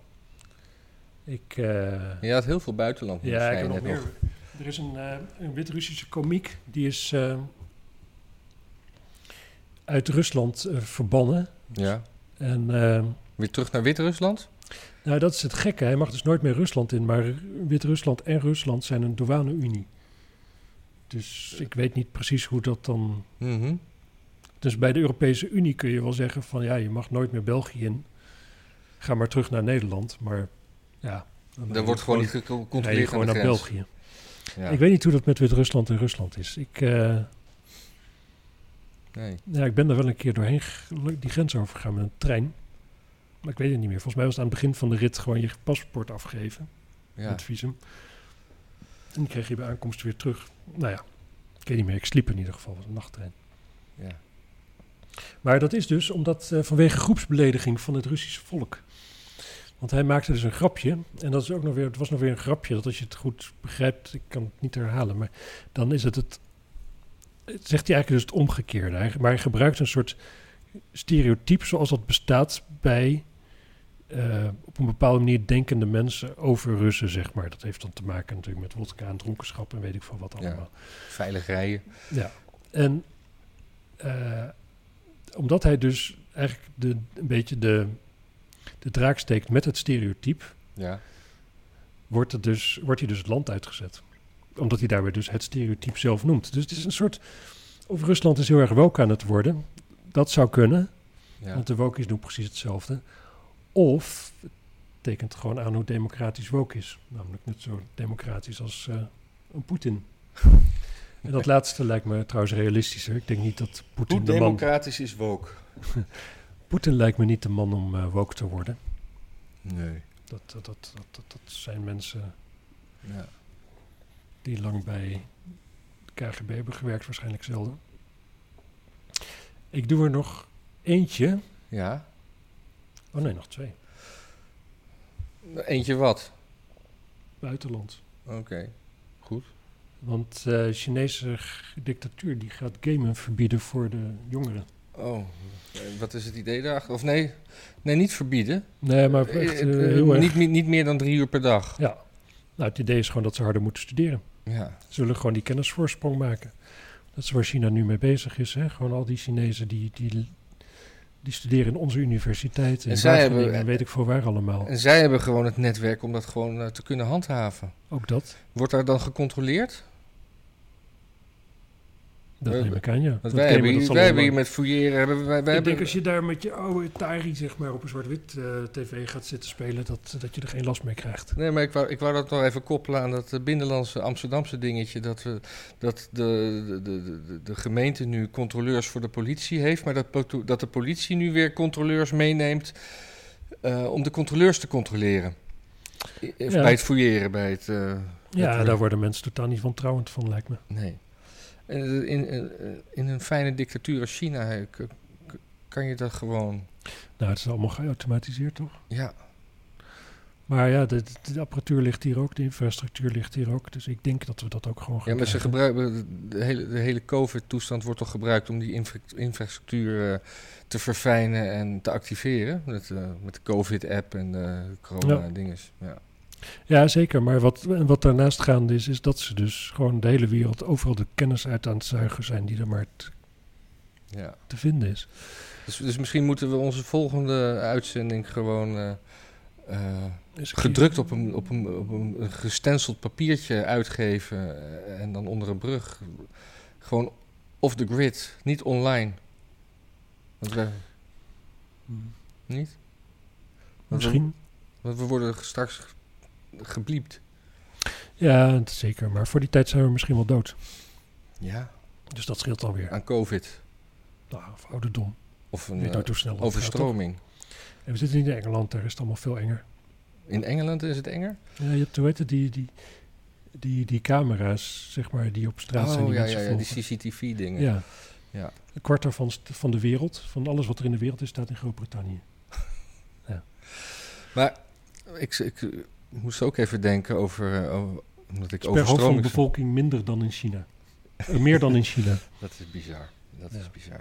Ik, eh, je had heel veel buitenland. nieuws, ja, ik zei heb je nog net meer. Er is een, eh, een Wit-Russische komiek die is eh, uit Rusland eh, verbannen. Ja. En eh, Weer terug naar Wit-Rusland? nou, dat is het gekke. Hij mag dus nooit meer Rusland in, maar Wit-Rusland en Rusland zijn een douane-unie. Dus ik weet niet precies hoe dat dan. Mhm. Dus bij de Europese Unie kun je wel zeggen van ja, je mag nooit meer België in. Ga maar terug naar Nederland. Maar ja, dan Daar wordt gewoon niet gecontroleerd rij je gewoon aan naar de grens. België. Ja. Ik weet niet hoe dat met Wit-Rusland en Rusland is. Ik, eh, Nee. ja, ik ben er wel een keer doorheen g- die grens over gegaan met een trein. Maar ik weet het niet meer. Volgens mij was het aan het begin van de rit gewoon je paspoort afgeven. Ja. Het visum. En die kreeg je bij aankomst weer terug. Nou ja, ik weet niet meer. Ik sliep in ieder geval. Het was een nachttrein. Ja. Maar dat is dus omdat eh, vanwege groepsbelediging van het Russische volk. Want hij maakte dus een grapje. En dat is ook nog weer, het was nog weer een grapje. Dat als je het goed begrijpt, ik kan het niet herhalen. Maar dan is het het. het zegt hij eigenlijk dus het omgekeerde. Hij- Maar hij gebruikt een soort stereotype zoals dat bestaat bij. eh, op een bepaalde manier denkende mensen over Russen, zeg maar. Dat heeft dan te maken natuurlijk met wodka en dronkenschap en weet ik veel wat Ja. allemaal. Veilig rijden. En eh, omdat hij dus eigenlijk de, een beetje de, de draak steekt met het stereotype, Ja. wordt, het dus, wordt hij dus het land uitgezet. Omdat hij daarbij dus het stereotype zelf noemt. Dus het is een soort. Of Rusland is heel erg woke aan het worden. Dat zou kunnen, Ja. want de woke is doen precies hetzelfde. Of het tekent gewoon aan hoe democratisch woke is. Namelijk net zo democratisch als eh, een Poetin. En dat laatste lijkt me trouwens realistischer. Ik denk niet dat Hoe Poetin de man... democratisch is woke? Poetin lijkt me niet de man om eh, woke te worden. Nee. Dat, dat, dat, dat, dat, dat zijn mensen Ja. die lang bij de KGB hebben gewerkt waarschijnlijk zelden. Ik doe er nog eentje. ja. Oh nee, nog twee. Eentje wat? buitenland. Oké, goed. Want eh, Chinese g- dictatuur die gaat gamen verbieden voor de jongeren. Oh, eh, wat is het idee daarachter? Of nee, nee niet verbieden. Nee, maar Eh, echt eh, eh, heel erg. niet, niet, niet meer dan drie uur per dag. Ja. Nou, het idee is gewoon dat ze harder moeten studeren. Ja. Ze willen gewoon die kennisvoorsprong maken. Dat is waar China nu mee bezig is. Hè? Gewoon al die Chinezen die, die, die studeren in onze universiteit. En En zij Wageningen hebben- en weet ik voor waar allemaal. En zij hebben gewoon het netwerk om dat gewoon eh, te kunnen handhaven. Ook dat, Wordt daar dan gecontroleerd? dat We- neem ik aan, ja. Want Dat wij gamen, hebben, dat hier, zal wij hebben hier allemaal. met fouilleren... Hebben, wij, wij ik denk hebben, als je daar met je oude Atari zeg maar, op een zwart-wit eh, tv gaat zitten spelen, dat, dat je er geen last mee krijgt. Nee, maar ik wou, ik wou dat nog even koppelen aan dat eh, binnenlandse Amsterdamse dingetje. Dat, we, dat de, de, de, de, de gemeente nu controleurs voor de politie heeft. Maar dat, poto- dat de politie nu weer controleurs meeneemt eh, om de controleurs te controleren. I- Of Ja. Bij het fouilleren, bij het... eh, Ja, dat- daar worden mensen totaal niet van trouwend van, lijkt me. Nee. En, eh, In, eh, in een fijne dictatuur als China eh, k- k- kan je dat gewoon... Nou, het is allemaal geautomatiseerd, toch? Ja, Maar ja, de, de apparatuur ligt hier ook, de infrastructuur ligt hier ook. Dus ik denk dat we dat ook gewoon gaan ja maar ze krijgen. gebruiken, de hele, de hele COVID-toestand wordt toch gebruikt om die infra- infrastructuur eh, te verfijnen en te activeren. Met, eh, met de COVID-app en de corona-dinges. Ja. Ja, zeker. Maar wat, en wat daarnaast gaande is, is dat ze dus gewoon de hele wereld overal de kennis uit aan het zuigen zijn die er maar t- Ja. te vinden is. Dus, dus misschien moeten we onze volgende uitzending gewoon... eh, eh, Is gedrukt op een, op een, op een een gestenceld papiertje uitgeven eh, en dan onder een brug. Gewoon off the grid, niet online. Want we, Hmm. niet? Want we- Misschien. Want we worden ge- straks ge- gebliept. Ja, dat zeker. Maar voor die tijd zijn we misschien wel dood. Ja. Dus dat scheelt alweer. Aan covid. Nou, of ouderdom. Of Ik een weet eh, nooit hoe snel dat gaat, overstroming. toch? En we zitten niet in Engeland, daar is het allemaal veel enger. In Engeland is het enger? Ja, je hebt, hoe heet het, die, die, die, die camera's, zeg maar, die op straat zijn. Oh Die ja, ja, mensen ja, die volgen. CCTV-dingen. Ja. Ja. Een kwart daarvan st- van de wereld, van alles wat er in de wereld is, staat in Groot-Brittannië. Maar ik, ik eh, moest ook even denken over... eh, over- omdat Het ik is per hoofd van overstroming... bevolking minder dan in China. Eh, Meer dan in China. Dat is bizar. Dat Ja. is bizar.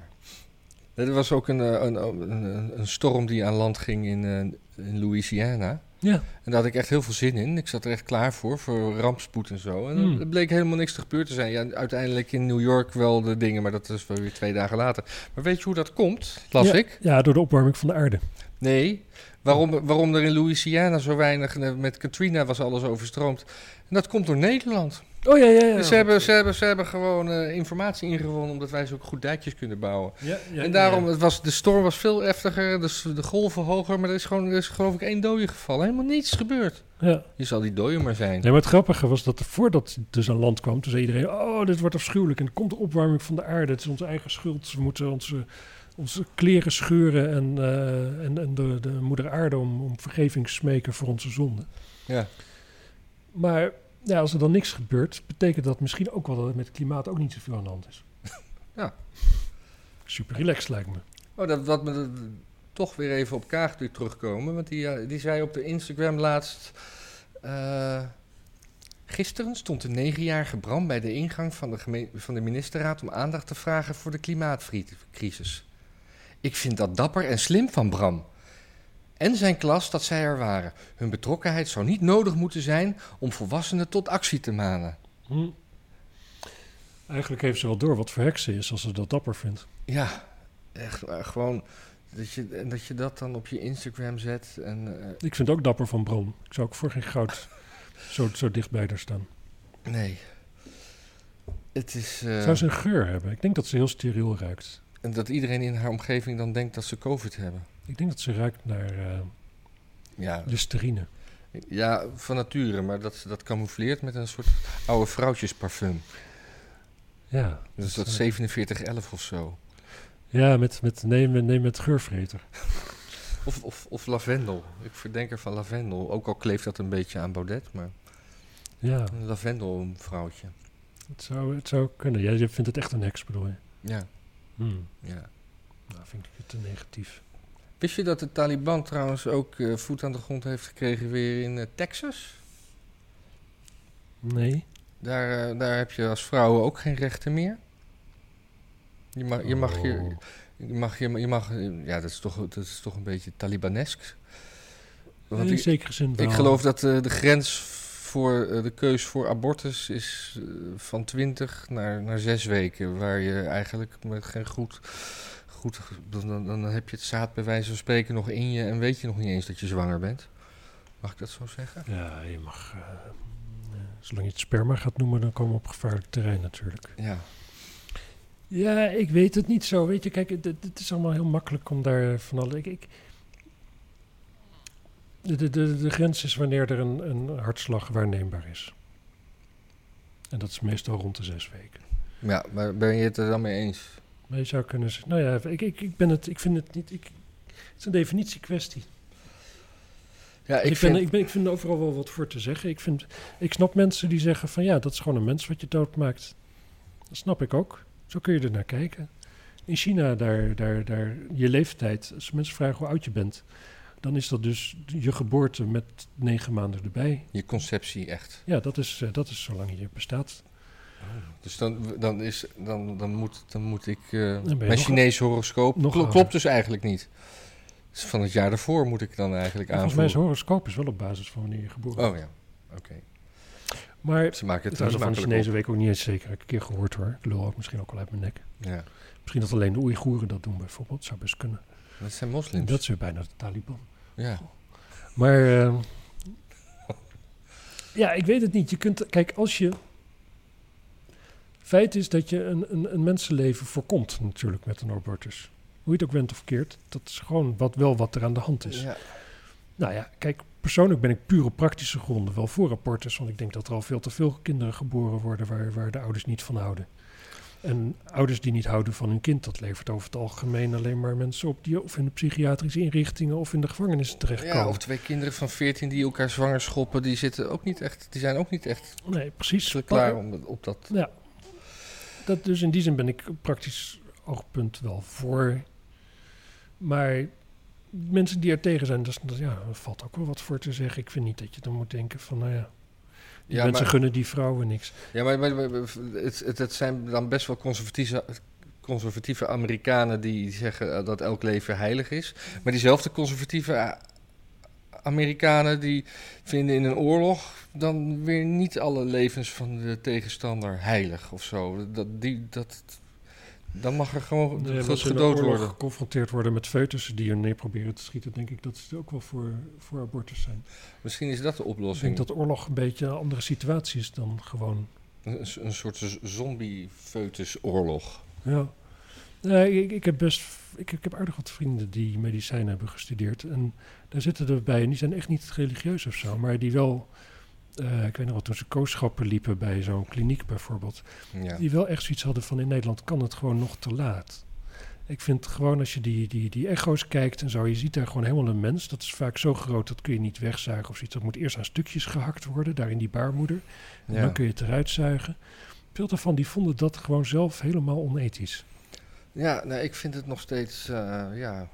Er was ook een, eh, een, een, een storm die aan land ging in, eh, in Louisiana. Ja. En daar had ik echt heel veel zin in. Ik zat er echt klaar voor, voor rampspoed en zo. En Hmm. er bleek helemaal niks te gebeurd te zijn. Ja, uiteindelijk in New York wel de dingen, maar dat is wel weer twee dagen later. Maar weet je hoe dat komt, las ja, ik? Ja, door de opwarming van de aarde. Nee. Waarom, waarom er in Louisiana zo weinig... eh, Met Katrina was alles overstroomd. En dat komt door Nederland. Oh ja, ja, ja. Dus ze, hebben, ze, hebben, ze hebben gewoon eh, informatie ingewonnen omdat wij zo ook goed dijkjes kunnen bouwen. en daarom, Het was, de storm was veel heftiger, dus de golven hoger, maar er is, gewoon, er is geloof ik één dode gevallen. Helemaal niets gebeurd. Ja. Je zal die dode maar zijn. Nee, maar het grappige was dat er, voordat het dus aan land kwam, toen zei iedereen, oh, dit wordt afschuwelijk en er komt de opwarming van de aarde. Het is onze eigen schuld. We moeten onze, onze kleren scheuren en, eh, en, en de, de moeder aarde om, om vergeving smeken voor onze zonden. Ja. Maar ja, als er dan niks gebeurt, betekent dat misschien ook wel dat het met het klimaat ook niet zoveel aan de hand is. Ja. Super relaxed lijkt me. Oh, dat, dat me dat- toch weer even op Kaag weer terugkomen. Want die, eh, die zei op de Instagram laatst... eh, Gisteren stond een negenjarige Bram bij de ingang van de, geme- van de ministerraad om aandacht te vragen voor de klimaatcrisis. Ik vind dat dapper en slim van Bram. En zijn klas dat zij er waren. Hun betrokkenheid zou niet nodig moeten zijn om volwassenen tot actie te manen. Hm. Eigenlijk heeft ze wel door wat voor heks ze is als ze dat dapper vindt. Ja, echt waar. Gewoon dat je, en dat je dat dan op je Instagram zet. En, eh, Ik vind ook dapper van Bron. Ik zou ook voor geen goud zo, zo dichtbij daar staan. Nee. Het is. eh, Zou ze een geur hebben? Ik denk dat ze heel steriel ruikt. en dat iedereen in haar omgeving dan denkt dat ze COVID hebben. Ik denk dat ze ruikt naar eh, Ja, listerine. ja van nature, maar dat ze dat camoufleert met een soort oude vrouwtjesparfum. Ja, Dus dat eh, 4711 of zo. ja met, met, nee, met, nee, met geurvreter. Of, of, of lavendel. Ik verdenk er van lavendel. Ook al kleeft dat een beetje aan Baudet, maar Ja, een lavendelvrouwtje. het zou, het zou kunnen. Jij vindt het echt een heks, bedoel je? Ja, Hmm. ja. Nou, vind ik het te negatief. Wist je dat de Taliban trouwens ook eh, voet aan de grond heeft gekregen weer in eh, Texas? Nee. Daar, eh, daar heb je als vrouw ook geen rechten meer. Je mag Ah, je, mag, Oh. je, je mag, je, je mag ja, dat is, toch, dat is toch een beetje talibanesk. Want in ik, zekere zin wel. ik geloof dat eh, de grens voor eh, de keus voor abortus is eh, van 20 naar, naar 6 weken. Waar je eigenlijk met geen goed. goed dan, dan, dan heb je het zaad bij wijze van spreken nog in je en weet je nog niet eens dat je zwanger bent. Mag ik dat zo zeggen? Ja, je mag... eh, zolang je het sperma gaat noemen, dan komen we op gevaarlijk terrein natuurlijk. Ja. Ja, ik weet het niet zo. Weet je, kijk, het, het- het is allemaal heel makkelijk om daar eh, van alle. Ik, ik, de, de, de, de grens is wanneer er een, een hartslag waarneembaar is. En dat is meestal rond de zes weken. ja, maar ben je het er dan mee eens? Maar je zou kunnen zeggen, nou ja, ik, ik, ik, ben het, ik vind het niet. Ik, het is een definitiekwestie. Ja, Ik, vind... ik, ben, ik vind er overal wel wat voor te zeggen. Ik, vind, ik snap mensen die zeggen van ja, dat is gewoon een mens wat je doodmaakt. Dat snap ik ook. Zo kun je er naar kijken. In China, daar, daar, daar, je leeftijd, als mensen vragen hoe oud je bent, dan is dat dus je geboorte met negen maanden erbij. Je conceptie echt. Ja, dat is, eh, dat is zolang je bestaat. Dus dan, dan, is, dan, dan, moet, dan moet ik. eh, ben je mijn nog- Chinese horoscoop. nog klo- ouder. klopt dus eigenlijk niet. Dus van het jaar daarvoor moet ik dan eigenlijk Volgens mij aanvoeren. is horoscoop is wel op basis van wanneer je geboren bent. Oh ja, oké. Maar het Ze maken het is van de trouwens makkelijk Chinese op. week ook niet eens zeker. Ik heb een keer gehoord hoor. Ik lul ook misschien ook al uit mijn nek. Ja, Misschien dat alleen de Oeigoeren dat doen bijvoorbeeld. Zou best kunnen. dat zijn moslims. Dat is weer bijna de Taliban. Ja. Maar eh, ja, ik weet het niet. Je kunt, kijk, als je. Feit is dat je een, een, een mensenleven voorkomt, natuurlijk, met een abortus. Hoe je het ook bent of keert, dat is gewoon wat, wel wat er aan de hand is. ja. Nou ja, kijk, persoonlijk ben ik puur op praktische gronden wel voor abortus. Want ik denk dat er al veel te veel kinderen geboren worden waar, waar de ouders niet van houden. En ouders die niet houden van hun kind, dat levert over het algemeen alleen maar mensen op die of in de psychiatrische inrichtingen of in de gevangenissen terechtkomen. Ja, of twee kinderen van 14 die elkaar zwanger schoppen, die, zitten ook niet echt, die zijn ook niet echt Nee, precies. klaar om dat- op dat. Ja. Dat, dus in die zin ben ik op praktisch oogpunt wel voor. Maar mensen die er tegen zijn, dat, is- dat- ja, er valt ook wel wat voor te zeggen. Ik vind niet dat je dan moet denken van, nou ja, die Ja, mensen maar, gunnen die vrouwen niks. ja, maar, maar- maar- het, het, het zijn dan best wel conservatieve, conservatieve Amerikanen die zeggen eh, dat elk leven heilig is. Maar diezelfde conservatieve eh, Amerikanen die vinden in een oorlog dan weer niet alle levens van de tegenstander heilig of zo. Dat, die, dat, dan mag er gewoon Nee, als Eh, ze in de Oh, gedood oorlog worden. geconfronteerd worden met foetussen die hun neer proberen te schieten, denk ik dat ze ook wel voor, voor abortus zijn. Misschien is dat de Ik denk oplossing. dat oorlog een beetje een andere situatie is dan gewoon Een, een soort z- zombie-foetus-oorlog. Ja. Nee, ik, ik heb best. Ik, ik heb aardig wat vrienden die medicijnen hebben gestudeerd. En daar zitten er bij. En die zijn echt niet religieus of zo. Maar die wel. eh, ik weet nog wel, toen ze kooschappen liepen bij zo'n kliniek bijvoorbeeld. Ja. Die wel echt zoiets hadden van in Nederland kan het gewoon nog te laat. Ik vind gewoon als je die, die, die echo's kijkt en zo, je ziet daar gewoon helemaal een mens. Dat is vaak zo groot, dat kun je niet wegzuigen of zoiets. Dat moet eerst aan stukjes gehakt worden, daar in die baarmoeder. En Ja. dan kun je het eruit zuigen. Veel daarvan die vonden dat gewoon zelf helemaal onethisch. Ja, nou, ik vind het nog steeds. eh, ja,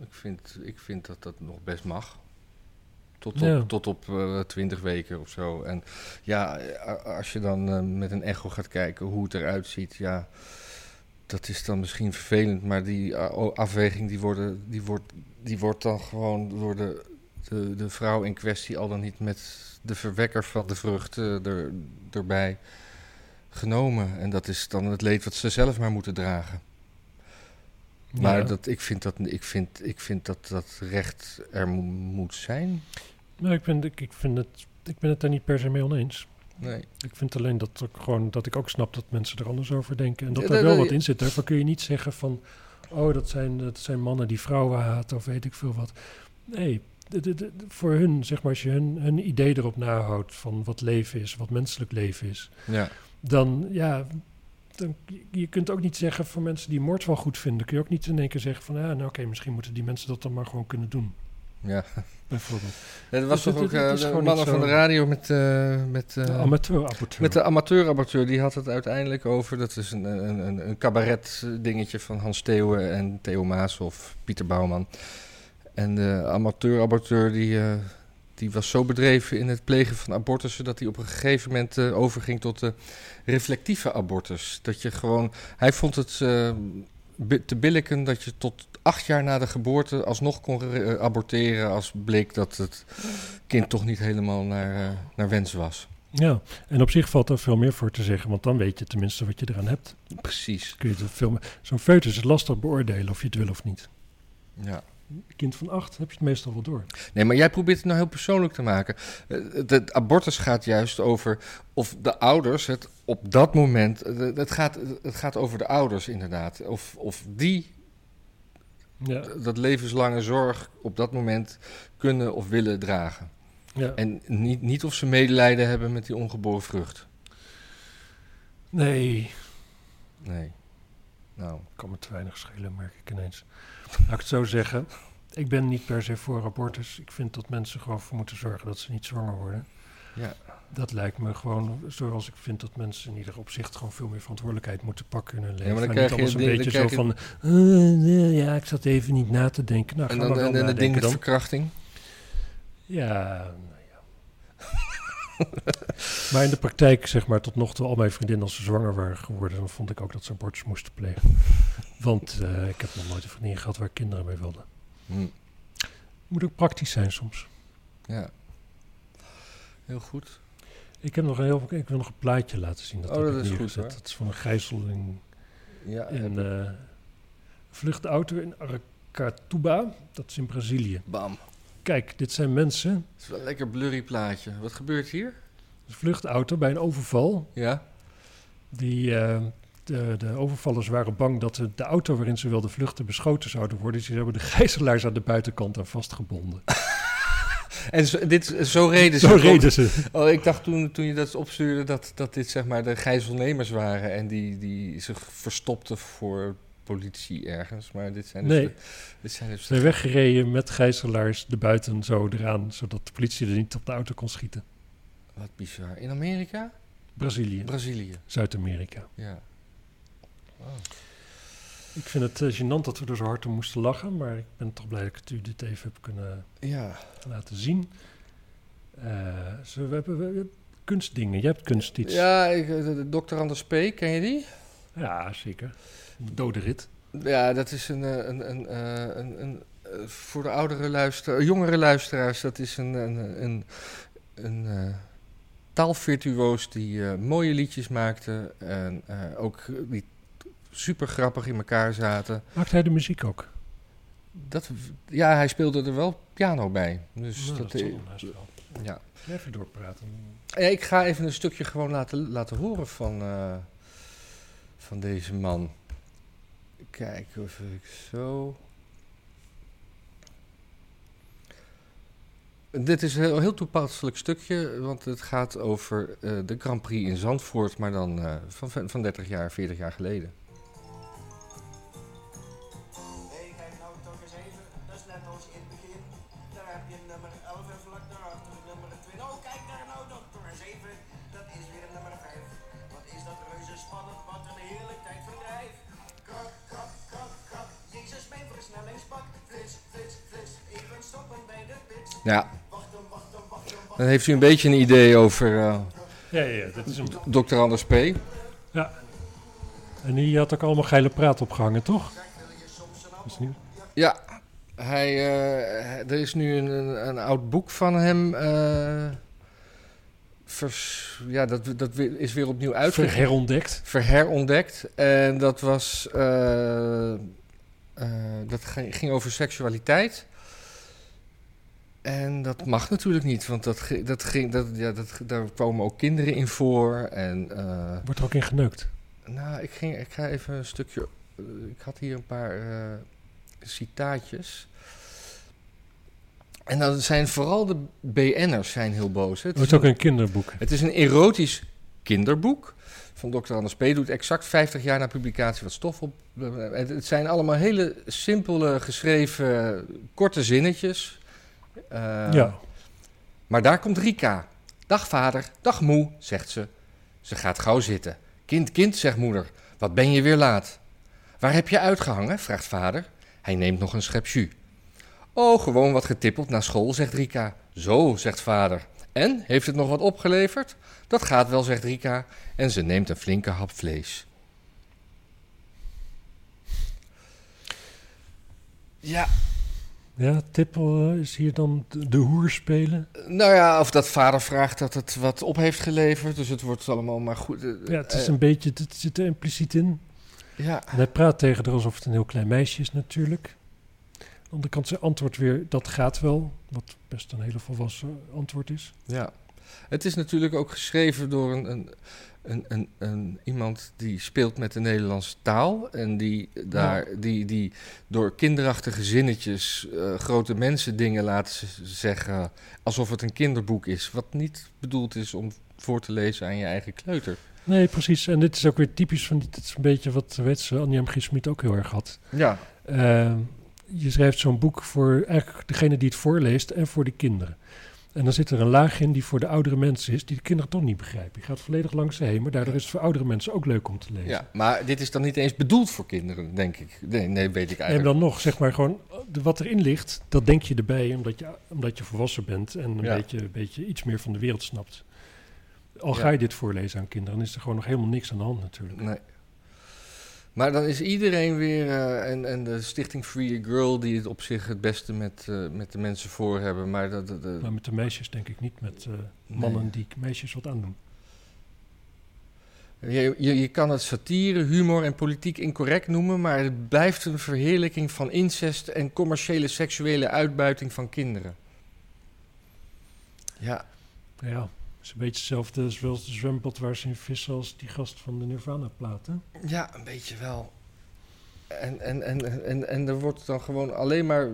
ik vind, ik vind dat dat nog best mag. Tot op, Ja. tot op eh, twintig weken of zo. En ja, eh, a- als je dan eh, met een echo gaat kijken hoe het eruit ziet, ja. Dat is dan misschien vervelend, maar die eh, o- afweging die, worden, die, wordt, die wordt dan gewoon door de, de, de vrouw in kwestie al dan niet met de verwekker van de vrucht eh, er, erbij genomen. En dat is dan het leed wat ze zelf maar moeten dragen. Maar Ja. dat, ik vind, dat, ik vind, ik vind dat dat recht er mo- moet zijn. Nou, ik, ben, ik, ik, vind het, ik ben het daar niet per se mee oneens. Nee. Ik vind alleen dat, ook gewoon, dat ik ook snap dat mensen er anders over denken. En dat Ja, daar dat- wel dat- wat in zit. Daarvan kun je niet zeggen van... Oh, dat zijn, dat zijn mannen die vrouwen haten of weet ik veel wat. Nee, de- de- de- voor hun, zeg maar, als je hun, hun idee erop nahoudt... van wat leven is, wat menselijk leven is... Ja. dan, ja... Dan, je kunt ook niet zeggen voor mensen die moord wel goed vinden... kun je ook niet in één keer zeggen van... ja, nou oké, misschien moeten die mensen dat dan maar gewoon kunnen doen. ja. Bijvoorbeeld. Dat was Dus het- toch ook het- het eh, is de gewoon mannen niet zo- van de radio met, eh, met, eh, De amateur-apporteur. met de amateur-amateur. Die had het uiteindelijk over. Dat is een, een, een, een cabaret-dingetje van Hans Theeuwen en Theo Maas of Pieter Bouwman. En de amateur-amateur die, eh, Die was zo bedreven in het plegen van abortussen dat hij op een gegeven moment eh, overging tot de reflectieve abortus. Dat je gewoon, hij vond het eh, bi- te billijken dat je tot acht jaar na de geboorte alsnog kon re- eh, aborteren als bleek dat het kind toch niet helemaal naar, eh, naar wens was. Ja, en op zich valt er veel meer voor te zeggen, want dan weet je tenminste wat je eraan hebt. Precies. Kun je het veel meer- Zo'n foetus is lastig beoordelen of je het wil of niet. Ja. Een kind van acht heb je het meestal wel door. Nee, maar jij probeert het nou heel persoonlijk te maken. Eh, Het abortus gaat juist over of de ouders het op dat moment. eh, Het gaat, het gaat over de ouders inderdaad. Of, of die Ja, dat levenslange zorg op dat moment kunnen of willen dragen. ja. En niet, niet of ze medelijden hebben met die ongeboren vrucht. Nee, Nee. Nou, kan me te weinig schelen, merk ik ineens. Laat ik het zo zeggen. Ik ben niet per se voor abortus. Ik vind dat mensen gewoon voor moeten zorgen dat ze niet zwanger worden. Ja. Dat lijkt me gewoon, zoals ik vind dat mensen in ieder opzicht gewoon veel meer verantwoordelijkheid moeten pakken in hun leven. maar dan en krijg niet je alles een dingen- beetje dan zo van, eh, nee, ja, ik zat even niet na te denken. Nou, ga en maar dan, wel en, en het nadenken ding met dan. verkrachting. Ja, nou ja. maar in de praktijk, zeg maar, tot nog toe, al mijn vriendinnen als ze zwanger waren geworden, dan vond ik ook dat ze abortus moesten plegen. Want eh, ik heb nog nooit een vriendin gehad waar ik kinderen mee wilden. Hm, Moet ook praktisch zijn soms. ja. Heel goed. Ik heb nog een heel, ik wil nog een plaatje laten zien. Dat Oh, heb dat ik is goed, neergezet. hoor. Dat is van een gijzeling Ja, in eh vluchtauto in Aracatuba. Dat is in Brazilië. bam. Kijk, dit zijn mensen. Het is wel een lekker blurry plaatje. Wat gebeurt hier? Een vluchtauto bij een overval. Ja. Die, eh, de, de overvallers waren bang dat de, de auto waarin ze wilden vluchten beschoten zouden worden. Dus ze hebben de gijzelaars aan de buitenkant aan vastgebonden. En zo, dit, zo reden ze. Zo ook. reden ze. Oh, ik dacht toen, toen je dat opstuurde dat, dat dit zeg maar de gijzelnemers waren en die, die zich verstopten voor politie ergens. Maar dit zijn dus Nee. de- dit zijn dus Ze zijn weggereden met gijzelaars de buiten zo eraan, zodat de politie er niet op de auto kon schieten. Wat bizar. In Amerika? Brazilië, Brazilië. Zuid-Amerika. Ja. Oh. Ik vind het eh, gênant dat we er zo hard om moesten lachen, maar ik ben toch blij dat ik het u dit even heb kunnen Ja. laten zien. Eh, ze, we hebben we- we- kunstdingen. Jij hebt kunsttiets. Ja, ik, eh, de, dokter Anders P., ken je die? ja, zeker. Dode rit. Ja, dat is een, eh, een, een, eh, een, een, eh, voor de oudere luisteraars, jongere luisteraars, dat is een, een, een, een eh, taalvirtuoos die eh, mooie liedjes maakte en eh, ook die super grappig in elkaar zaten. Maakt hij de muziek ook? Dat, ja, hij speelde er wel piano bij. Dus Nou, dat, dat eh, zal wel haast wel. ja. Even doorpraten. Ja, ik ga even een stukje gewoon laten, laten horen van, eh, van deze man. Kijk of ik zo. Dit is een heel, heel toepasselijk stukje, want het gaat over eh, de Grand Prix in Zandvoort, maar dan eh, van, van 30 jaar, 40 jaar geleden. Nee, kijk nou toch eens even. Dat is net als in het begin. Daar heb je nummer 11 en vlak daarachter nummer 2. Oh, kijk daar nou dokter eens even. Dat is weer nummer 5. Wat is dat reuze spannend. Wat een heerlijk tijdverdrijf. Krak, krak, krak, krak. Jezus, mijn versnellingsbak. Flits, flits, flits. Even stoppen bij de pits. Ja. Dan heeft u een beetje een idee over eh, Ja, ja, dat is hem. Dr. Anders P. Ja. En die had ook allemaal geile praat opgehangen, toch? Dat is nieuw. Ja, hij, eh, hij- er is nu een, een, een oud boek van hem. eh, vers- ja, dat, dat we- is weer opnieuw Ver- uitgegeven. herontdekt. Verherontdekt. En dat was. eh, eh, dat ging ging over seksualiteit. En dat mag natuurlijk niet, want dat, ge- dat ging, dat, ja, dat, daar kwamen ook kinderen in voor. En, eh, Wordt er ook in geneukt. nou, ik, ging, ik ga even een stukje. eh, ik had hier een paar eh, citaatjes. En dan zijn vooral de BN'ers zijn heel boos. Hè. Het Het, wordt is ook een, een kinderboek. het is een erotisch kinderboek. Van Dr. Anders P. doet exact 50 jaar na publicatie wat stof op. eh, Het, het zijn allemaal hele simpele geschreven korte zinnetjes. Eh, ja. maar daar komt Rika. Dag vader, dag moe, zegt ze. Ze gaat gauw zitten. Kind, kind, zegt moeder, wat ben je weer laat? Waar heb je uitgehangen? vraagt vader. Hij neemt nog een schep jus. Oh, gewoon wat getippeld naar school, zegt Rika. Zo, zegt vader. En, heeft het nog wat opgeleverd? Dat gaat wel, zegt Rika. En ze neemt een flinke hap vlees. Ja, Ja, tippel eh, is hier dan de, de hoer spelen. nou ja, of dat vader vraagt dat het wat op heeft geleverd. Dus het wordt allemaal maar goed. eh, Ja, het is eh, een beetje, het zit er impliciet in. ja. En hij praat tegen haar alsof het een heel klein meisje is natuurlijk. Aan de andere kant zijn antwoord weer, dat gaat wel. Wat best een hele volwassen antwoord is. Ja, het is natuurlijk ook geschreven door een, een, een, een, een- iemand die speelt met de Nederlandse taal. En die, daar, die, die door kinderachtige zinnetjes eh, grote mensen dingen laat z- zeggen. alsof het een kinderboek is. Wat niet bedoeld is om voor te lezen aan je eigen kleuter. Nee, precies. En dit is ook weer typisch van, dit is een beetje wat, weet ze, Annie M. G. Schmid ook heel erg had. Ja, Eh, je schrijft zo'n boek voor eigenlijk degene die het voorleest en voor de kinderen. En dan zit er een laag in die voor de oudere mensen is, die de kinderen toch niet begrijpen. Je gaat volledig langs ze heen, maar daardoor is het voor oudere mensen ook leuk om te lezen. ja, maar dit is dan niet eens bedoeld voor kinderen, denk ik. Nee, nee weet ik En eigenlijk. dan nog, zeg maar gewoon, eh, de- wat erin ligt, dat denk je erbij omdat je, omdat je volwassen bent en een Ja. beetje, een beetje iets meer van de wereld snapt. Al ga Ja. je dit voorlezen aan kinderen, dan is er gewoon nog helemaal niks aan de hand natuurlijk. Nee. Maar dan is iedereen weer, eh, en, en de stichting Free a Girl, die het op zich het beste met, eh, met de mensen voor hebben. Maar dat, dat- dat- Maar met de meisjes denk ik niet, met eh, mannen die meisjes wat aandoen. je, je, je kan het satire, humor en politiek incorrect noemen, maar het blijft een verheerlijking van incest en commerciële seksuele uitbuiting van kinderen. Ja, Nou Ja, het is een beetje hetzelfde als wel eens de zwembad waar ze in vissen als die gast van de Nirvana-platen. ja een beetje wel. En, en, en, en, en er wordt dan gewoon alleen maar.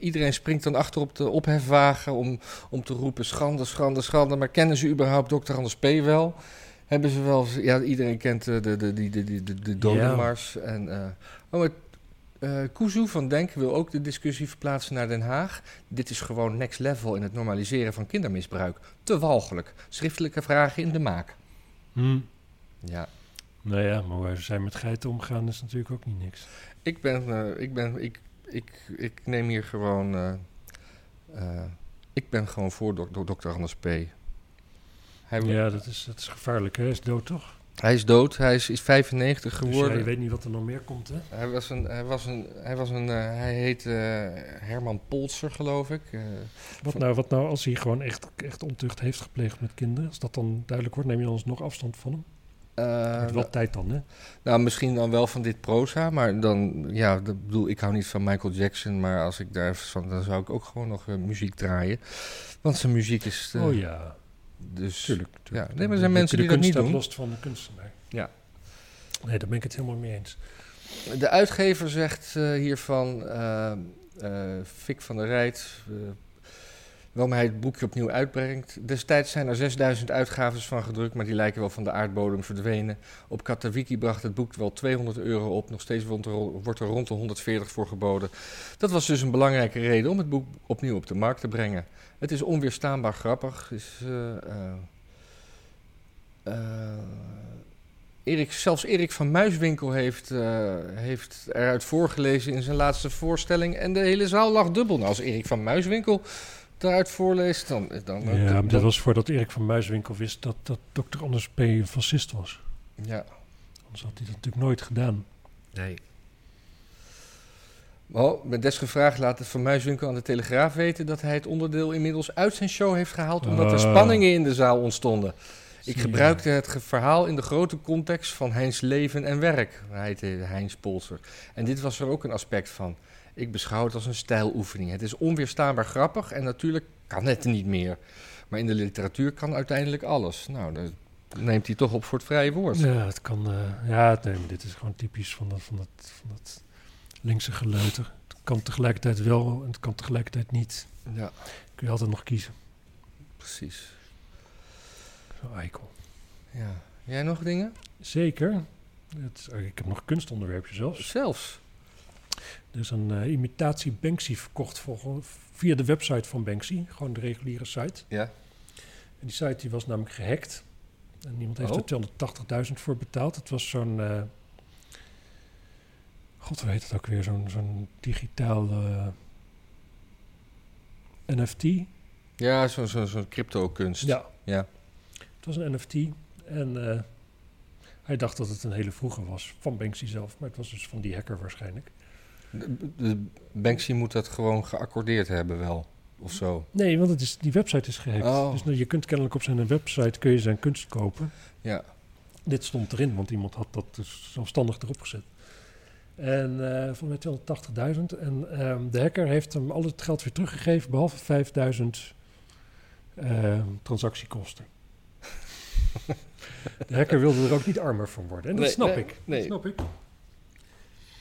Iedereen springt dan achter op de ophefwagen om, om te roepen: schande, schande, schande. Maar kennen ze überhaupt dokter Anders P. wel? Hebben ze wel. Ja, iedereen kent eh, de, de, die- de, de, de, de dodenmars. En, eh, oh, maar eh, Kuzu van Denk wil ook de discussie verplaatsen naar Den Haag. Dit is gewoon next level in het normaliseren van kindermisbruik. Te walgelijk. Schriftelijke vragen in de maak. Ja. Hmm. Nou ja, maar waar zij met geiten omgaan is natuurlijk ook niet niks. Ik ben, eh, ik ben, ik, ik, ik neem hier gewoon, eh, eh, ik ben gewoon voor dok- dok- dokter Anders P. Hij, Ja, dat is, dat is gevaarlijk, hè? Hij is dood, toch? hij is dood, hij is, is 95 Dus geworden. ja, je weet niet wat er nog meer komt, hè? Hij was een, hij was een, hij was een, eh, hij heet eh, Herman Polser, geloof ik. Eh, Wat nou, wat nou als hij gewoon echt, echt ontucht heeft gepleegd met kinderen? Als dat dan duidelijk wordt, neem je ons nog afstand van hem? eh, Wordt wel tijd dan, hè? nou, misschien dan wel van dit proza, maar dan, ja, dat bedoel, ik hou niet van Michael Jackson, maar als ik daar even van, dan zou ik ook gewoon nog eh, muziek draaien. Want zijn muziek is, eh, Oh ja, dus, tuurlijk. nee, tuurlijk. maar er Dan zijn heb je mensen de die dat niet kunstenaar doen. los van de kunstenaar. Ja. Nee, daar ben ik het helemaal mee eens. De uitgever zegt eh, hiervan, eh eh, Fik van der Rijt, eh, waarom hij het boekje opnieuw uitbrengt. Destijds zijn er 6000 uitgaves van gedrukt, maar die lijken wel van de aardbodem verdwenen. Op Katawiki bracht het boek wel 200 euro op, nog steeds wordt er, wordt er rond de 140 voor geboden. Dat was dus een belangrijke reden om het boek opnieuw op de markt te brengen. Het is onweerstaanbaar grappig, is... eh, eh, eh, Erik, zelfs Erik van Muiswinkel heeft, eh, heeft eruit voorgelezen in zijn laatste voorstelling. En de hele zaal lag dubbel. Nou, als Erik van Muiswinkel daaruit voorleest, dan... dan dan- Ja, maar dan- dat was voordat Erik van Muiswinkel wist dat, dat dokter Anders P. een fascist was. Ja, Anders had hij dat natuurlijk nooit gedaan. nee. Wel, met desgevraagd laat het Van Muiswinkel aan de Telegraaf weten... dat hij het onderdeel inmiddels uit zijn show heeft gehaald... omdat er Ah. spanningen in de zaal ontstonden. Zie Ik je. gebruikte het ge- verhaal in de grote context van Heinz leven en werk, heette Heinz Polser. En dit was er ook een aspect van. Ik beschouw het als een stijloefening. Het is onweerstaanbaar grappig en natuurlijk kan het niet meer. Maar in de literatuur kan uiteindelijk alles. Nou, dat neemt hij toch op voor het vrije woord. Ja, het kan. eh, ja, nee, maar dit is gewoon typisch van dat, van dat, van dat linkse geleuter. Het kan tegelijkertijd wel en het kan tegelijkertijd niet. Ja, Kun je altijd nog kiezen. precies. Zo'n eikel. Ja. Jij nog dingen? Zeker. Het, is- eh, ik heb nog een kunstonderwerpje zelfs. Zelfs. Er is een eh, imitatie Banksy verkocht volgens- via de website van Banksy. Gewoon de reguliere site. Ja. En die site die was namelijk gehackt. En iemand heeft Oh. er 280.000 voor betaald. Het was zo'n. eh, God, hoe heet het ook weer? Zo'n zo'n digitaal. eh, NFT. Ja, zo'n zo, zo crypto-kunst. Ja. Ja. Het was een NFT. En eh, hij dacht dat het een hele vroege was van Banksy zelf. Maar het was dus van die hacker waarschijnlijk. De- de Banksy moet dat gewoon geaccordeerd hebben wel, of zo. Nee, want het is, die website is gehackt. Oh. Dus nou, je kunt kennelijk op zijn website kun je zijn kunst kopen. Ja. Dit stond erin, want iemand had dat dus zelfstandig erop gezet. En eh van mij 280.000. En ehm, de hacker heeft hem al het geld weer teruggegeven, behalve 5000 ehm, transactiekosten. de hacker wilde er ook niet armer van worden. En dat Nee, snap nee, ik. nee. Dat snap ik.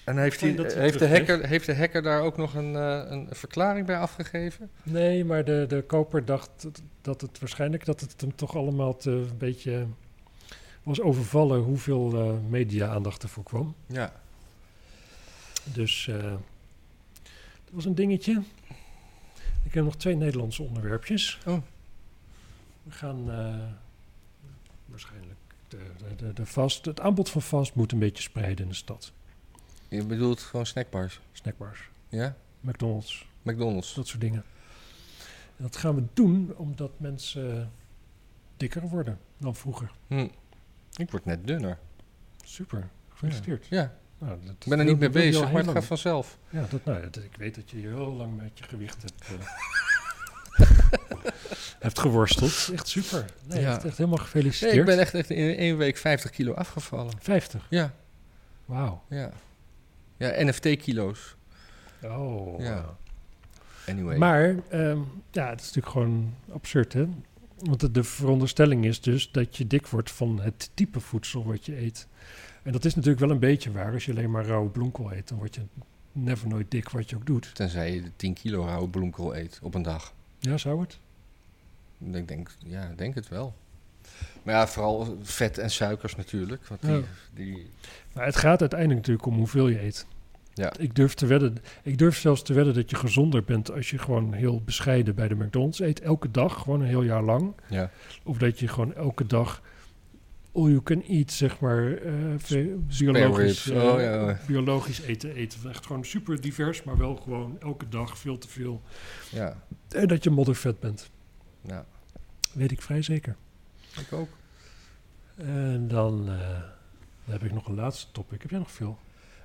En heeft, Fijn die, dat hij heeft, de terug hacker, heeft de hacker daar ook nog een, eh, een verklaring bij afgegeven? Nee, maar de, de koper dacht dat- dat het waarschijnlijk dat het hem toch allemaal te, een beetje was overvallen hoeveel eh, media-aandacht ervoor kwam. Ja. Dus eh, dat was een dingetje. Ik heb nog twee Nederlandse onderwerpjes. Oh. We gaan eh, waarschijnlijk de, de, de, de vast, het aanbod van vast moet een beetje spreiden in de stad. Je bedoelt gewoon snackbars, Snackbars, ja? McDonald's, McDonald's. dat soort dingen. En dat gaan we doen omdat mensen eh, dikker worden dan vroeger. Hm. Ik word net dunner. Super, gefeliciteerd. Ja, Nou, dat- ik ben dat er niet mee wil je al bezig, heel maar het lang. gaat vanzelf. Ja, dat, nou, ja, dat- ik weet dat je hier heel lang met je gewicht hebt, eh, hebt geworsteld. Echt super. Nee, Ja. echt, echt helemaal Nee, gefeliciteerd. ik ben echt, echt in één week 50 kilo afgevallen. 50. Ja, Wauw. ja. Ja, NFT-kilo's. Oh. Ja. Anyway. Maar ehm, ja, het is natuurlijk gewoon absurd, hè? Want de, de veronderstelling is dus dat je dik wordt van het type voedsel wat je eet. En dat is natuurlijk wel een beetje waar. Als je alleen maar rauwe bloemkool eet, dan word je never nooit dik, wat je ook doet. Tenzij je de 10 kilo rauwe bloemkool eet op een dag. Ja, zou het? Ik denk, ja, ik denk het wel. Maar ja, vooral vet en suikers natuurlijk. Want die, Ja. die, Maar het gaat uiteindelijk natuurlijk om hoeveel je eet. Ja. Ik, durf te wedden, ik durf zelfs te wedden dat je gezonder bent als je gewoon heel bescheiden bij de McDonald's eet. Elke dag, gewoon een heel jaar lang. ja. Of dat je gewoon elke dag all you can eat, zeg maar, eh, ve- biologisch, ribs. eh, Oh, ja, ja. biologisch eten eet. Echt gewoon super divers, maar wel gewoon elke dag veel te veel. Ja, En dat je moddervet bent, ja, weet ik vrij zeker. ik ook. En dan, eh, dan heb ik nog een laatste topic. Heb jij nog veel?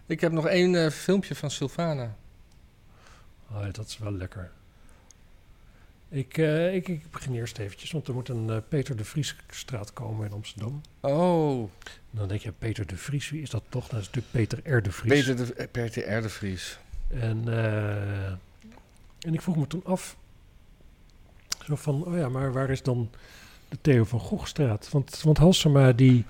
Ik heb nog één eh, filmpje van Sylvana. Ah, ja, dat is wel lekker. Ik, eh, ik, ik begin eerst eventjes, want er moet een eh, Peter de Vriesstraat komen in Amsterdam. Oh, En dan denk je, Peter de Vries, wie is dat toch? Dat is natuurlijk Peter R. de Vries. Peter de, eh, Peter R. de Vries. En, eh, en ik vroeg me toen af, zo van, oh ja, maar waar is dan de Theo van Gogstraat? Want, want Halsema, die,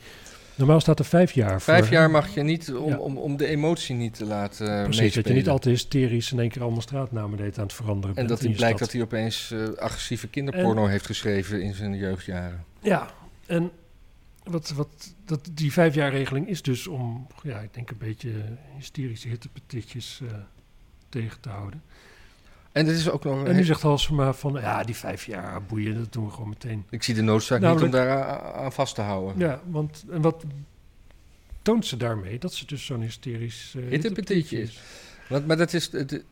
normaal staat er vijf jaar voor. Vijf hè? jaar mag je niet, om, Ja. om, om de emotie niet te laten eh, Precies, dat je meespelen. niet altijd hysterisch in één keer allemaal straatnamen deed aan het veranderen. en bent dat in hij je blijkt stad. dat hij opeens eh, agressieve kinderporno heeft geschreven in zijn jeugdjaren. Ja, en wat, wat, dat, die vijfjaarregeling is dus om, ja, ik denk een beetje hysterische hittepetitjes eh, tegen te houden. En dit is ook nog... En nu zegt Halsema van, eh, ja, die vijf jaar boeien, dat doen we gewoon meteen. ik zie de noodzaak Namelijk- niet om daar a- aan vast te houden. Ja, want en wat toont ze daarmee? Dat ze dus zo'n hysterisch uh, Hittepetitje Want, maar dat is, het,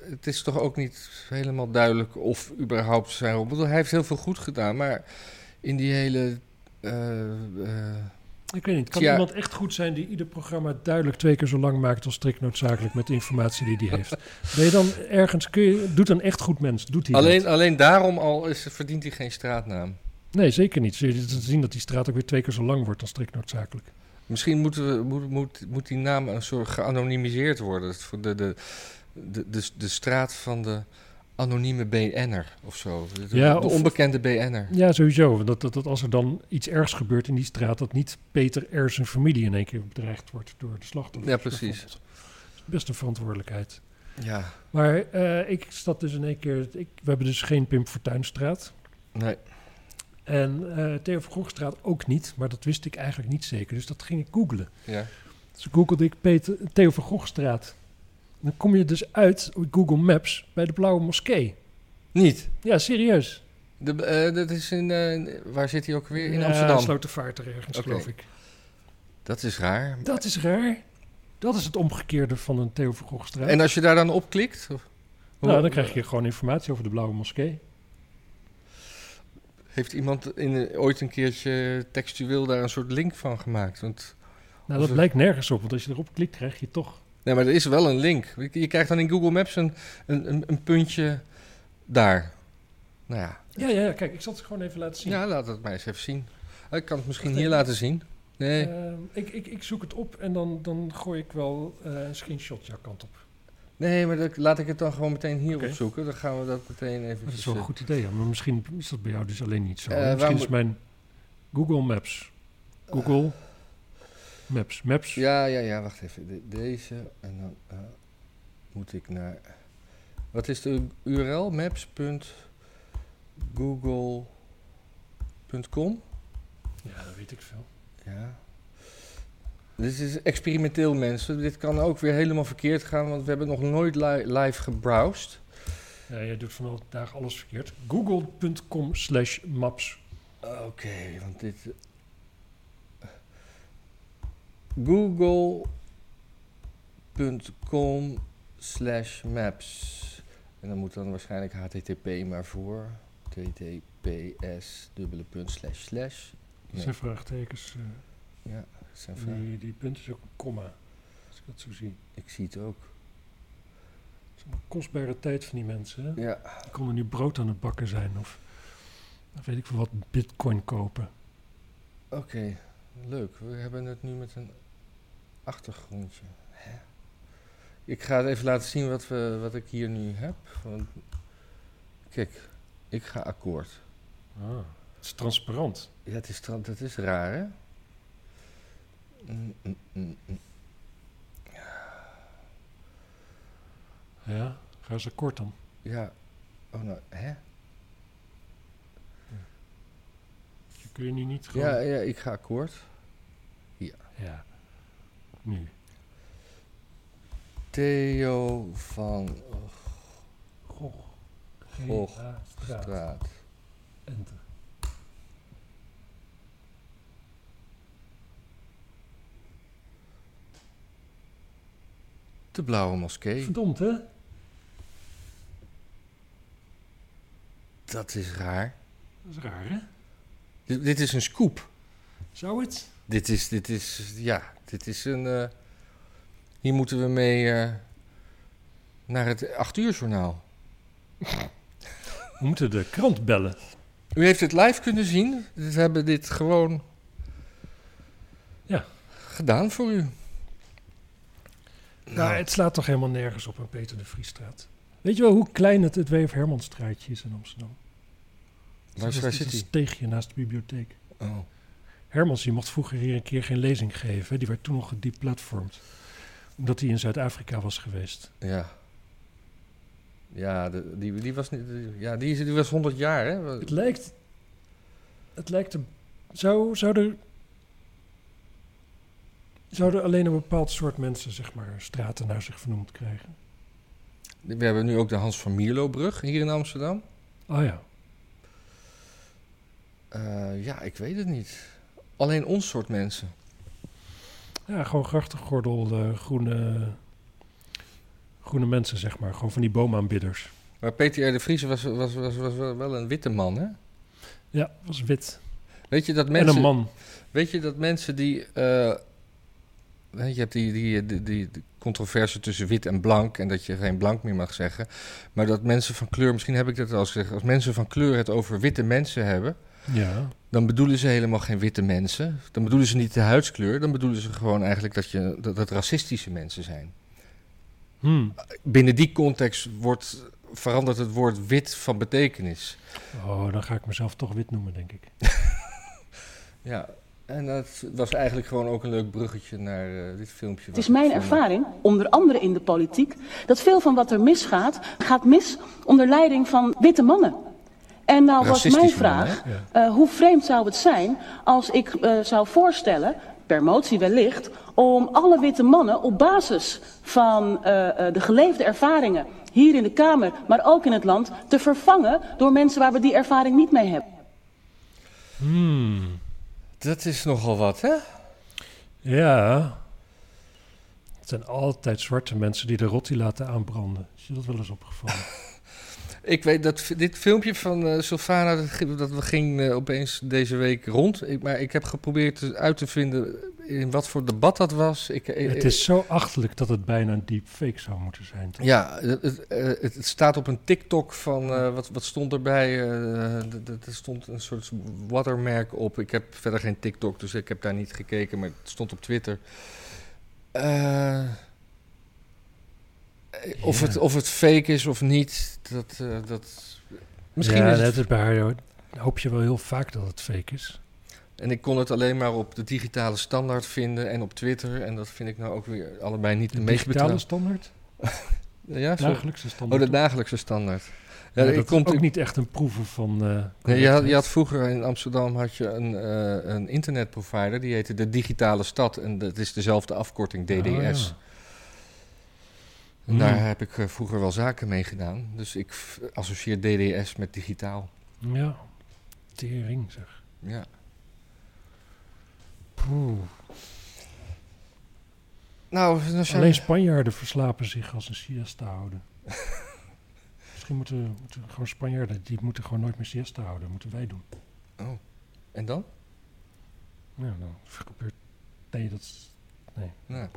het is toch ook niet helemaal duidelijk of überhaupt zijn rol. Ik bedoel, hij heeft heel veel goed gedaan, maar in die hele. eh, eh, Ik weet niet, kan Ja. iemand echt goed zijn die ieder programma duidelijk twee keer zo lang maakt als strikt noodzakelijk met de informatie die die heeft? Ben je dan ergens, kun je, doet een echt goed mens, doet hij dat? alleen, alleen daarom al is, verdient hij geen straatnaam. Nee, zeker niet. Ze ze zien dat die straat ook weer twee keer zo lang wordt dan strikt noodzakelijk. Misschien moeten we, moet, moet, moet die naam een soort geanonimiseerd worden. Het voor De, de, de, de, de straat van de anonieme BN'er of zo. De, de- Ja, de of- onbekende BN'er. Ja, sowieso. Want Dat, dat, dat als er dan iets ergs gebeurt in die straat, dat niet Peter R. zijn familie in één keer bedreigd wordt door de slachtoffers. Ja, precies. bijvoorbeeld. Dat is Best een verantwoordelijkheid. Ja, Maar eh, ik zat dus in één keer. Ik, we hebben dus geen Pim Fortuynstraat. nee. En eh Theo van Gogstraat ook niet. Maar dat wist ik eigenlijk niet zeker. Dus dat ging ik googlen. Ja. Dus googelde ik Peter, Theo van Gogstraat. En Dan kom je dus uit op Google Maps bij de Blauwe Moskee. Niet. Ja, serieus. De, eh, dat is in. eh, waar zit hij ook weer? In Ja, Amsterdam. Eh, Slotervaart er ergens, Oké. geloof ik. Dat is raar. Dat is raar. Dat is het omgekeerde van een Theo van Gogstraat. En als je daar dan op klikt, of- Nou, dan krijg je gewoon informatie over de Blauwe Moskee. Heeft iemand in, de- ooit een keertje textueel daar een soort link van gemaakt? Want, Nou, Of dat het- lijkt nergens op, want als je erop klikt, krijg je toch... nee, maar er is wel een link. Je- Je krijgt dan in Google Maps een, een, een, een puntje daar. Nou ja. Ja, ja, ja, kijk, ik zal het gewoon even laten zien. ja, laat het mij eens even zien. Oh, Ik kan het misschien Wacht hier even. laten zien. Nee, Ehm, ik, ik, ik zoek het op en dan, dan gooi ik wel eh, een screenshot jouw kant op. nee maar dan laat ik het dan gewoon meteen hier Oké. opzoeken. Dan gaan we dat meteen eh, even... Dat is wel een goed idee, ja, maar misschien is dat bij jou dus alleen niet zo. Dus, Eh, hè? waar misschien is moet- mijn Google Maps. Google Maps. Maps. Eh. Ja, ja, ja, wacht even. De- deze en dan eh, moet ik naar. Wat is de URL? Maps.google.com. Ja, dat weet ik veel. Ja. Dit is experimenteel, mensen. Dit kan ook weer helemaal verkeerd gaan, want we hebben nog nooit li- live gebrowsed. Ja, je Eh, doet vandaag alles verkeerd. Google.com slash maps. Oké, want dit. eh, Google.com slash maps. En dan moet dan waarschijnlijk HTTP maar voor. TTPS dubbele punt slash slash. Dat zijn vraagtekens. eh, Ja, dat zijn vragen. die, die punt is ook een komma. Als ik dat zo zie. Ik zie het ook. Het is een kostbare tijd van die mensen. Hè? Ja. Die konden nu brood aan het bakken zijn of... dan Weet ik veel wat, bitcoin kopen. Oké, leuk. We hebben het nu met een achtergrondje. Hè? Ik ga het even laten zien wat, we, wat ik hier nu heb. Want, kijk, ik ga akkoord. Het is transparant. Ja, het is, tran- dat is raar, hè? Mm, mm, mm, mm. Ja, ga eens akkoord dan. Ja. Oh, nou, hè? Dan kun je nu niet gewoon... Ja, ja, ik ga akkoord. Ja. Nu. Theo van Goch. Goch. G-A-straat. Straat. Enter. De Blauwe Moskee. Verdomd, hè? Dat is raar. Dat is raar, hè? Dit, dit is een scoop. Zou het? Dit is, dit is, ja, dit is een. eh, hier moeten we mee eh, naar het 8 uur journaal. We moeten de krant bellen. U heeft het live kunnen zien. We hebben dit gewoon. Ja. Gedaan voor u. Nou, het slaat toch helemaal nergens op aan Peter de Vriestraat. Weet je wel hoe klein het, het W.F. Hermanstraatje is in Amsterdam? Waar, is waar Dus is zit een hij? steegje naast de bibliotheek. Oh. Hermans die mocht vroeger hier een keer geen lezing geven. Die werd toen nog gedeplatformd. Omdat hij in Zuid-Afrika was geweest. Ja. Ja, de- die, die was niet. die- ja, die, is- die was 100 jaar, hè? Wa- Het lijkt... Het lijkt... Een, zou, zou er... Zouden alleen een bepaald soort mensen, zeg maar, straten naar zich vernoemd krijgen? We hebben nu ook de Hans van Mierlo-brug hier in Amsterdam. Oh ja. Eh, ja, ik weet het niet. Alleen ons soort mensen. Ja, gewoon grachtengordel, eh, groene, groene mensen, zeg maar. Gewoon van die boomaanbidders. Maar Peter R. de Vries was, was, was, was wel een witte man, hè? Ja, was wit. Weet je dat mensen, En een man. Weet je dat mensen die. eh, hè, je hebt die, die, die, die, die controverse tussen wit en blank. En dat je geen blank meer mag zeggen. Maar dat mensen van kleur. Misschien heb ik dat al eens gezegd. Als mensen van kleur het over witte mensen hebben. Ja. Dan bedoelen ze helemaal geen witte mensen. Dan bedoelen ze niet de huidskleur. Dan bedoelen ze gewoon eigenlijk dat, je, dat, dat racistische mensen zijn. Hm. Binnen die context wordt, verandert het woord wit van betekenis. Oh, dan ga ik mezelf toch wit noemen, denk ik. Ja, en dat was eigenlijk gewoon ook een leuk bruggetje naar eh, dit filmpje. Het is mijn ervaring, onder andere in de politiek, dat veel van wat er misgaat, gaat mis onder leiding van witte mannen. En nou was Racistische mijn mannen, vraag, eh, hoe vreemd zou het zijn als ik eh, zou voorstellen, per motie wellicht, om alle witte mannen op basis van eh, eh, de geleefde ervaringen hier in de Kamer, maar ook in het land, te vervangen door mensen waar we die ervaring niet mee hebben. Hmm. Dat is nogal wat, hè? Ja. Het zijn altijd zwarte mensen die de rotti laten aanbranden. Is je dat wel eens opgevallen? Ik weet dat fi- dit filmpje van eh Sylvana, dat, gi- dat we ging eh, opeens deze week rond. Ik, maar ik heb geprobeerd te- uit te vinden in wat voor debat dat was. Ik, eh, het is zo achterlijk dat het bijna een deepfake zou moeten zijn. toch? Ja, het, het, eh, het- het staat op een TikTok van eh, wat, wat stond erbij. eh, d- d- er stond een soort watermerk op. Ik heb verder geen TikTok, dus ik heb daar niet gekeken, maar het stond op Twitter. Eh, eh, of, Ja. het, of het fake is of niet, dat. eh, dat misschien ja, is het net als bij haar hoor. hoop je wel heel vaak dat het fake is. En ik kon het alleen maar op de digitale standaard vinden en op Twitter. En dat vind ik nou ook weer allebei niet de, De meest digitale betrouwbare. standaard? Ja, sorry. Dagelijkse Oh, standaard. de dagelijkse standaard. Ja, Ja, ik dat kom- is ook ik- niet echt een proeven van... eh, Nee, je, had, je correctheid. had vroeger in Amsterdam had je een, eh, een internetprovider. Die heette de Digitale Stad. En dat is dezelfde afkorting DDS. Oh, ja. En daar Hmm. heb ik eh, vroeger wel zaken mee gedaan. Dus ik f- associeer DDS met digitaal. Oh, Ja, tering zeg. Ja. Poeh. Nou, dan zijn Alleen Spanjaarden verslapen zich als een siesta houden. Misschien moeten, moeten gewoon Spanjaarden, die moeten gewoon nooit meer siesta houden. moeten wij doen. En dan? Ja, dan gebeurt... Nee, dat is- Nou.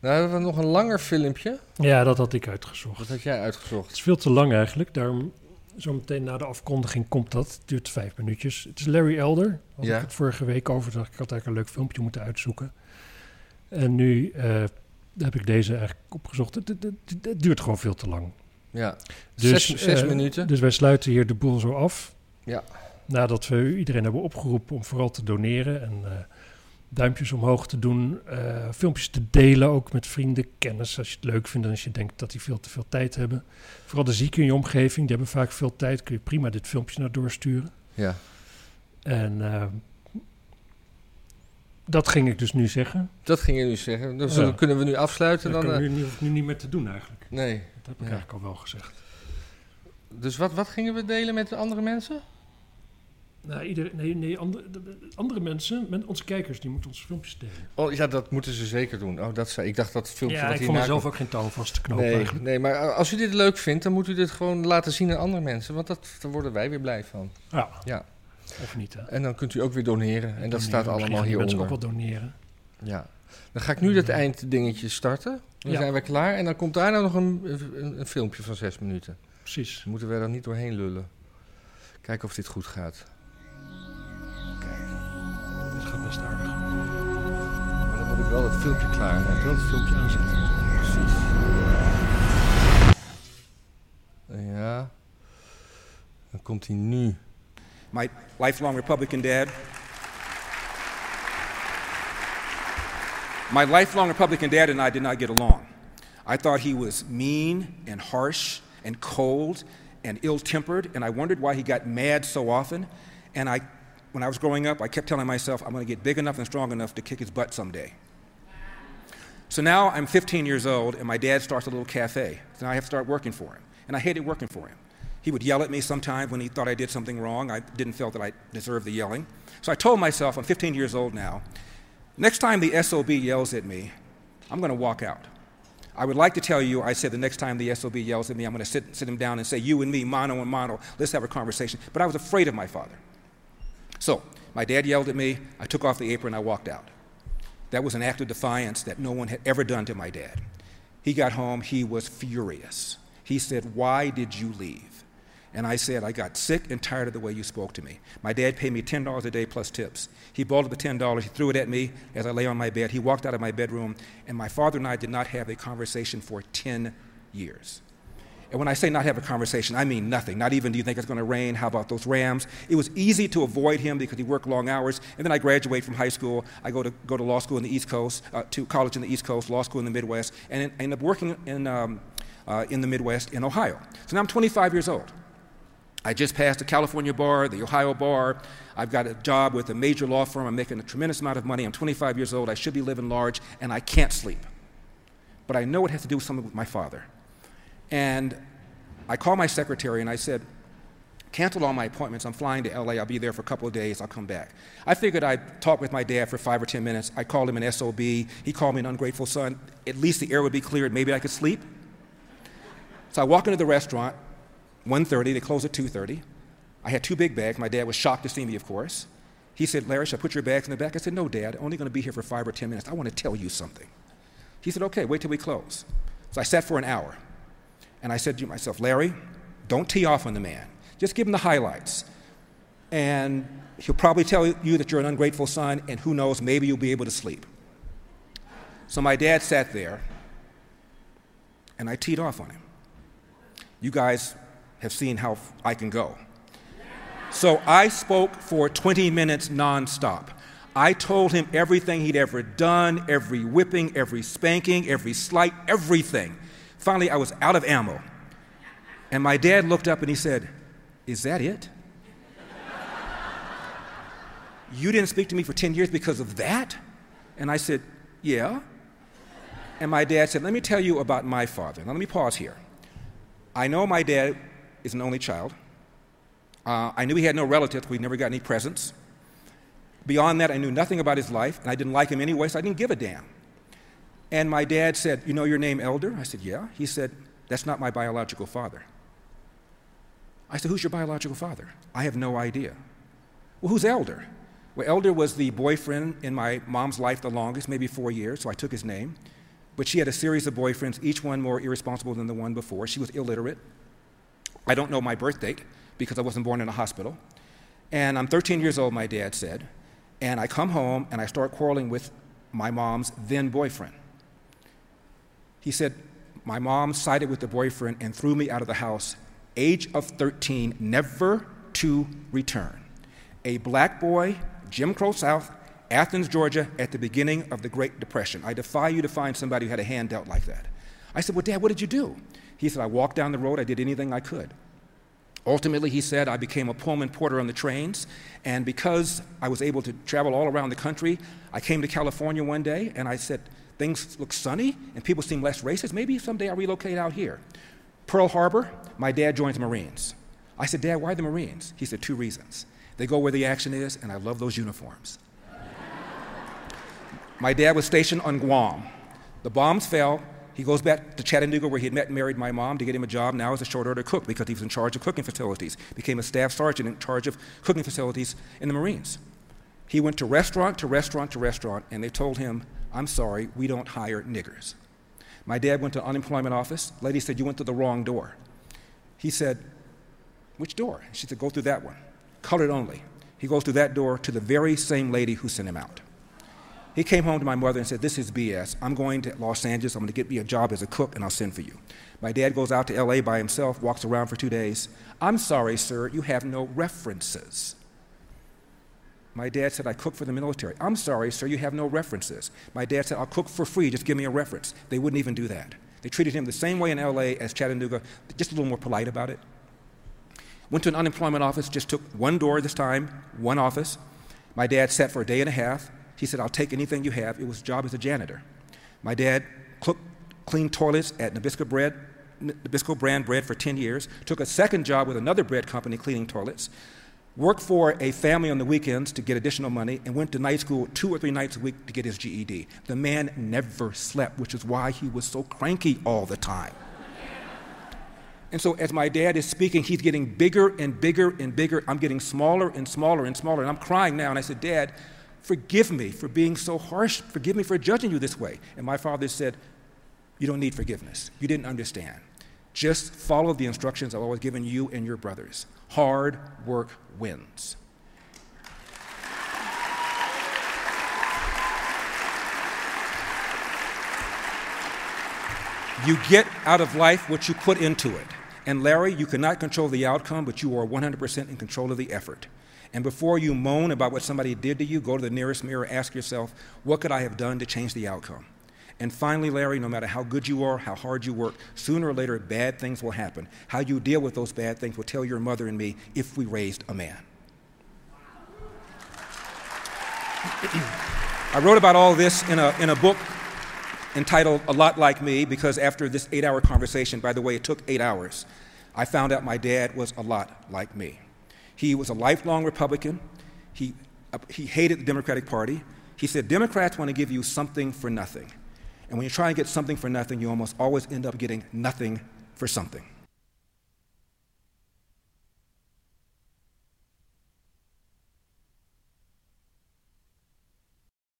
nou, hebben we nog een langer filmpje. Ja, dat had ik uitgezocht. Dat had jij Het uitgezocht. is veel te lang eigenlijk. Daarom, zo meteen na de afkondiging komt dat. Het duurt vijf minuutjes. Het is Larry Elder. Had Ja. ik het vorige week over. Dacht ik had eigenlijk een leuk filmpje moeten uitzoeken. En nu eh, heb ik deze eigenlijk opgezocht. Het, het- het- het duurt gewoon veel te lang. Ja. Dus, zes zes eh, minuten. Dus wij sluiten hier de boel zo af. Ja. Nadat we u- iedereen hebben opgeroepen om vooral te doneren en eh, duimpjes omhoog te doen. eh, filmpjes te delen, ook met vrienden, kennis, als je het leuk vindt en als je denkt dat die veel te veel tijd hebben. Vooral de zieken in je omgeving, die hebben vaak veel tijd. Kun je prima dit filmpje naar doorsturen. Ja. En eh, dat ging ik dus nu zeggen. Dat ging je nu zeggen. Dus Ja. dan kunnen we nu afsluiten. Dat Dan, kan eh, ik nu, nu, nu niet meer te doen eigenlijk. Nee. Dat heb ik Ja. eigenlijk al wel gezegd. Dus wat, wat gingen we delen met de andere mensen? Nou, iedereen, nee, nee, andere, de- de- andere mensen, men- onze kijkers, die moeten onze filmpjes delen. Oh ja, dat moeten ze zeker doen. Oh, dat zei, ik dacht dat het filmpje ja, dat ik vond hierna mezelf kwam. ook geen touw vast te knopen Nee, eigenlijk. nee, maar eh, als u dit leuk vindt, dan moet u dit gewoon laten zien aan andere mensen. Want dat, daar worden wij weer blij van. Ja. Ja. Of niet, hè? En dan kunt u ook weer doneren. En dat Doneren. staat Misschien gaan allemaal die mensen ook hieronder. wel doneren. Ja. Dan ga ik nu dat einddingetje starten. Dan Ja. zijn we klaar. En dan komt daarna nog een, een, een filmpje van zes minuten. Precies. Moeten we er niet doorheen lullen. Kijken of dit goed gaat. Dit gaat best aardig. Maar dan moet ik wel dat filmpje klaar hebben. Wel dat filmpje aanzetten. Precies. Ja. Dan komt hij nu. my lifelong Republican dad. My lifelong Republican dad and I did not get along. I thought he was mean and harsh and cold and ill tempered, and I wondered why he got mad so often. And I, when I was growing up, I kept telling myself, I'm going to get big enough and strong enough to kick his butt someday. So now I'm 15 years old, and my dad starts a little cafe. So now I have to start working for him. And I hated working for him. He would yell at me sometimes when he thought I did something wrong. I didn't feel that I deserved the yelling. So I told myself, I'm 15 years old now, next time the SOB yells at me, I'm going to walk out. I would like to tell you, I said, the next time the SOB yells at me, I'm going to sit, sit him down and say, You and me, mano and mano, let's have a conversation. But I was afraid of my father. So my dad yelled at me. I took off the apron. I walked out. That was an act of defiance that no one had ever done to my dad. He got home, he was furious. He said, Why did you leave? And I said, I got sick and tired of the way you spoke to me. My dad paid me $10 a day plus tips. He balled up the $10, he threw it at me as I lay on my bed. He walked out of my bedroom, and my father and I did not have a conversation for 10 years. And when I say not have a conversation, I mean nothing. Not even do you think it's going to rain? How about those Rams? It was easy to avoid him because he worked long hours. And then I graduate from high school. I go to, go to law school in the East Coast, uh, to college in the East Coast, law school in the Midwest, and en- end up working in, um, uh, in the Midwest in Ohio. So now I'm 25 years old. I just passed the California bar, the Ohio bar. I've got a job with a major law firm. I'm making a tremendous amount of money. I'm 25 years old. I should be living large, and I can't sleep. But I know it has to do with something with my father. And I called my secretary and I said, Canceled all my appointments. I'm flying to LA. I'll be there for a couple of days. I'll come back. I figured I'd talk with my dad for five or 10 minutes. I called him an SOB. He called me an ungrateful son. At least the air would be cleared. Maybe I could sleep. So I walk into the restaurant, 1.30. They close at 2.30. I had two big bags. My dad was shocked to see me, of course. He said, Larry, should I put your bags in the back? I said, no, Dad. I'm only going to be here for five or 10 minutes. I want to tell you something. He said, okay, wait till we close. So I sat for an hour. And I said to myself, Larry, don't tee off on the man. Just give him the highlights. And he'll probably tell you that you're an ungrateful son, and who knows, maybe you'll be able to sleep. So my dad sat there, and I teed off on him. You guys have seen how I can go. So I spoke for 20 minutes nonstop. I told him everything he'd ever done every whipping, every spanking, every slight, everything. Finally, I was out of ammo. And my dad looked up and he said, Is that it? You didn't speak to me for 10 years because of that? And I said, Yeah. And my dad said, Let me tell you about my father. Now, let me pause here. I know my dad is an only child. Uh, I knew he had no relatives, we never got any presents. Beyond that, I knew nothing about his life, and I didn't like him anyway, so I didn't give a damn. And my dad said, You know your name, Elder? I said, Yeah. He said, That's not my biological father. I said, Who's your biological father? I have no idea. Well, who's Elder? Well, Elder was the boyfriend in my mom's life the longest, maybe four years, so I took his name. But she had a series of boyfriends, each one more irresponsible than the one before. She was illiterate. I don't know my birth date because I wasn't born in a hospital. And I'm 13 years old, my dad said. And I come home and I start quarreling with my mom's then boyfriend. He said, My mom sided with the boyfriend and threw me out of the house, age of 13, never to return. A black boy, Jim Crow South, Athens, Georgia, at the beginning of the Great Depression. I defy you to find somebody who had a handout like that. I said, Well, Dad, what did you do? He said, I walked down the road, I did anything I could. Ultimately, he said, I became a Pullman porter on the trains, and because I was able to travel all around the country, I came to California one day and I said, things look sunny and people seem less racist. Maybe someday I'll relocate out here. Pearl Harbor, my dad joins the Marines. I said, Dad, why the Marines? He said, Two reasons. They go where the action is, and I love those uniforms. my dad was stationed on Guam. The bombs fell. He goes back to Chattanooga where he had met and married my mom to get him a job now as a short order cook because he was in charge of cooking facilities. Became a staff sergeant in charge of cooking facilities in the Marines. He went to restaurant to restaurant to restaurant and they told him, I'm sorry, we don't hire niggers. My dad went to unemployment office. Lady said, You went to the wrong door. He said, Which door? She said, Go through that one. Colored only. He goes through that door to the very same lady who sent him out. He came home to my mother and said, This is BS. I'm going to Los Angeles. I'm going to get me a job as a cook and I'll send for you. My dad goes out to LA by himself, walks around for two days. I'm sorry, sir, you have no references. My dad said, I cook for the military. I'm sorry, sir, you have no references. My dad said, I'll cook for free, just give me a reference. They wouldn't even do that. They treated him the same way in LA as Chattanooga, just a little more polite about it. Went to an unemployment office, just took one door this time, one office. My dad sat for a day and a half. He said, I'll take anything you have. It was a job as a janitor. My dad cooked, cleaned toilets at Nabisco Bread, Nabisco brand bread for 10 years, took a second job with another bread company cleaning toilets worked for a family on the weekends to get additional money, and went to night school two or three nights a week to get his GED. The man never slept, which is why he was so cranky all the time. And so, as my dad is speaking, he's getting bigger and bigger and bigger. I'm getting smaller and smaller and smaller. And I'm crying now. And I said, Dad, forgive me for being so harsh. Forgive me for judging you this way. And my father said, You don't need forgiveness. You didn't understand. Just follow the instructions I've always given you and your brothers. Hard work wins. You get out of life what you put into it. And Larry, you cannot control the outcome, but you are 100% in control of the effort. And before you moan about what somebody did to you, go to the nearest mirror, ask yourself, what could I have done to change the outcome? And finally, Larry, no matter how good you are, how hard you work, sooner or later bad things will happen. How you deal with those bad things will tell your mother and me if we raised a man. I wrote about all this in a, in a book entitled A Lot Like Me because after this eight hour conversation, by the way, it took eight hours, I found out my dad was a lot like me. He was a lifelong Republican. He, uh, he hated the Democratic Party. He said, Democrats want to give you something for nothing. And when you try and get something for nothing, you almost always end up getting nothing for something.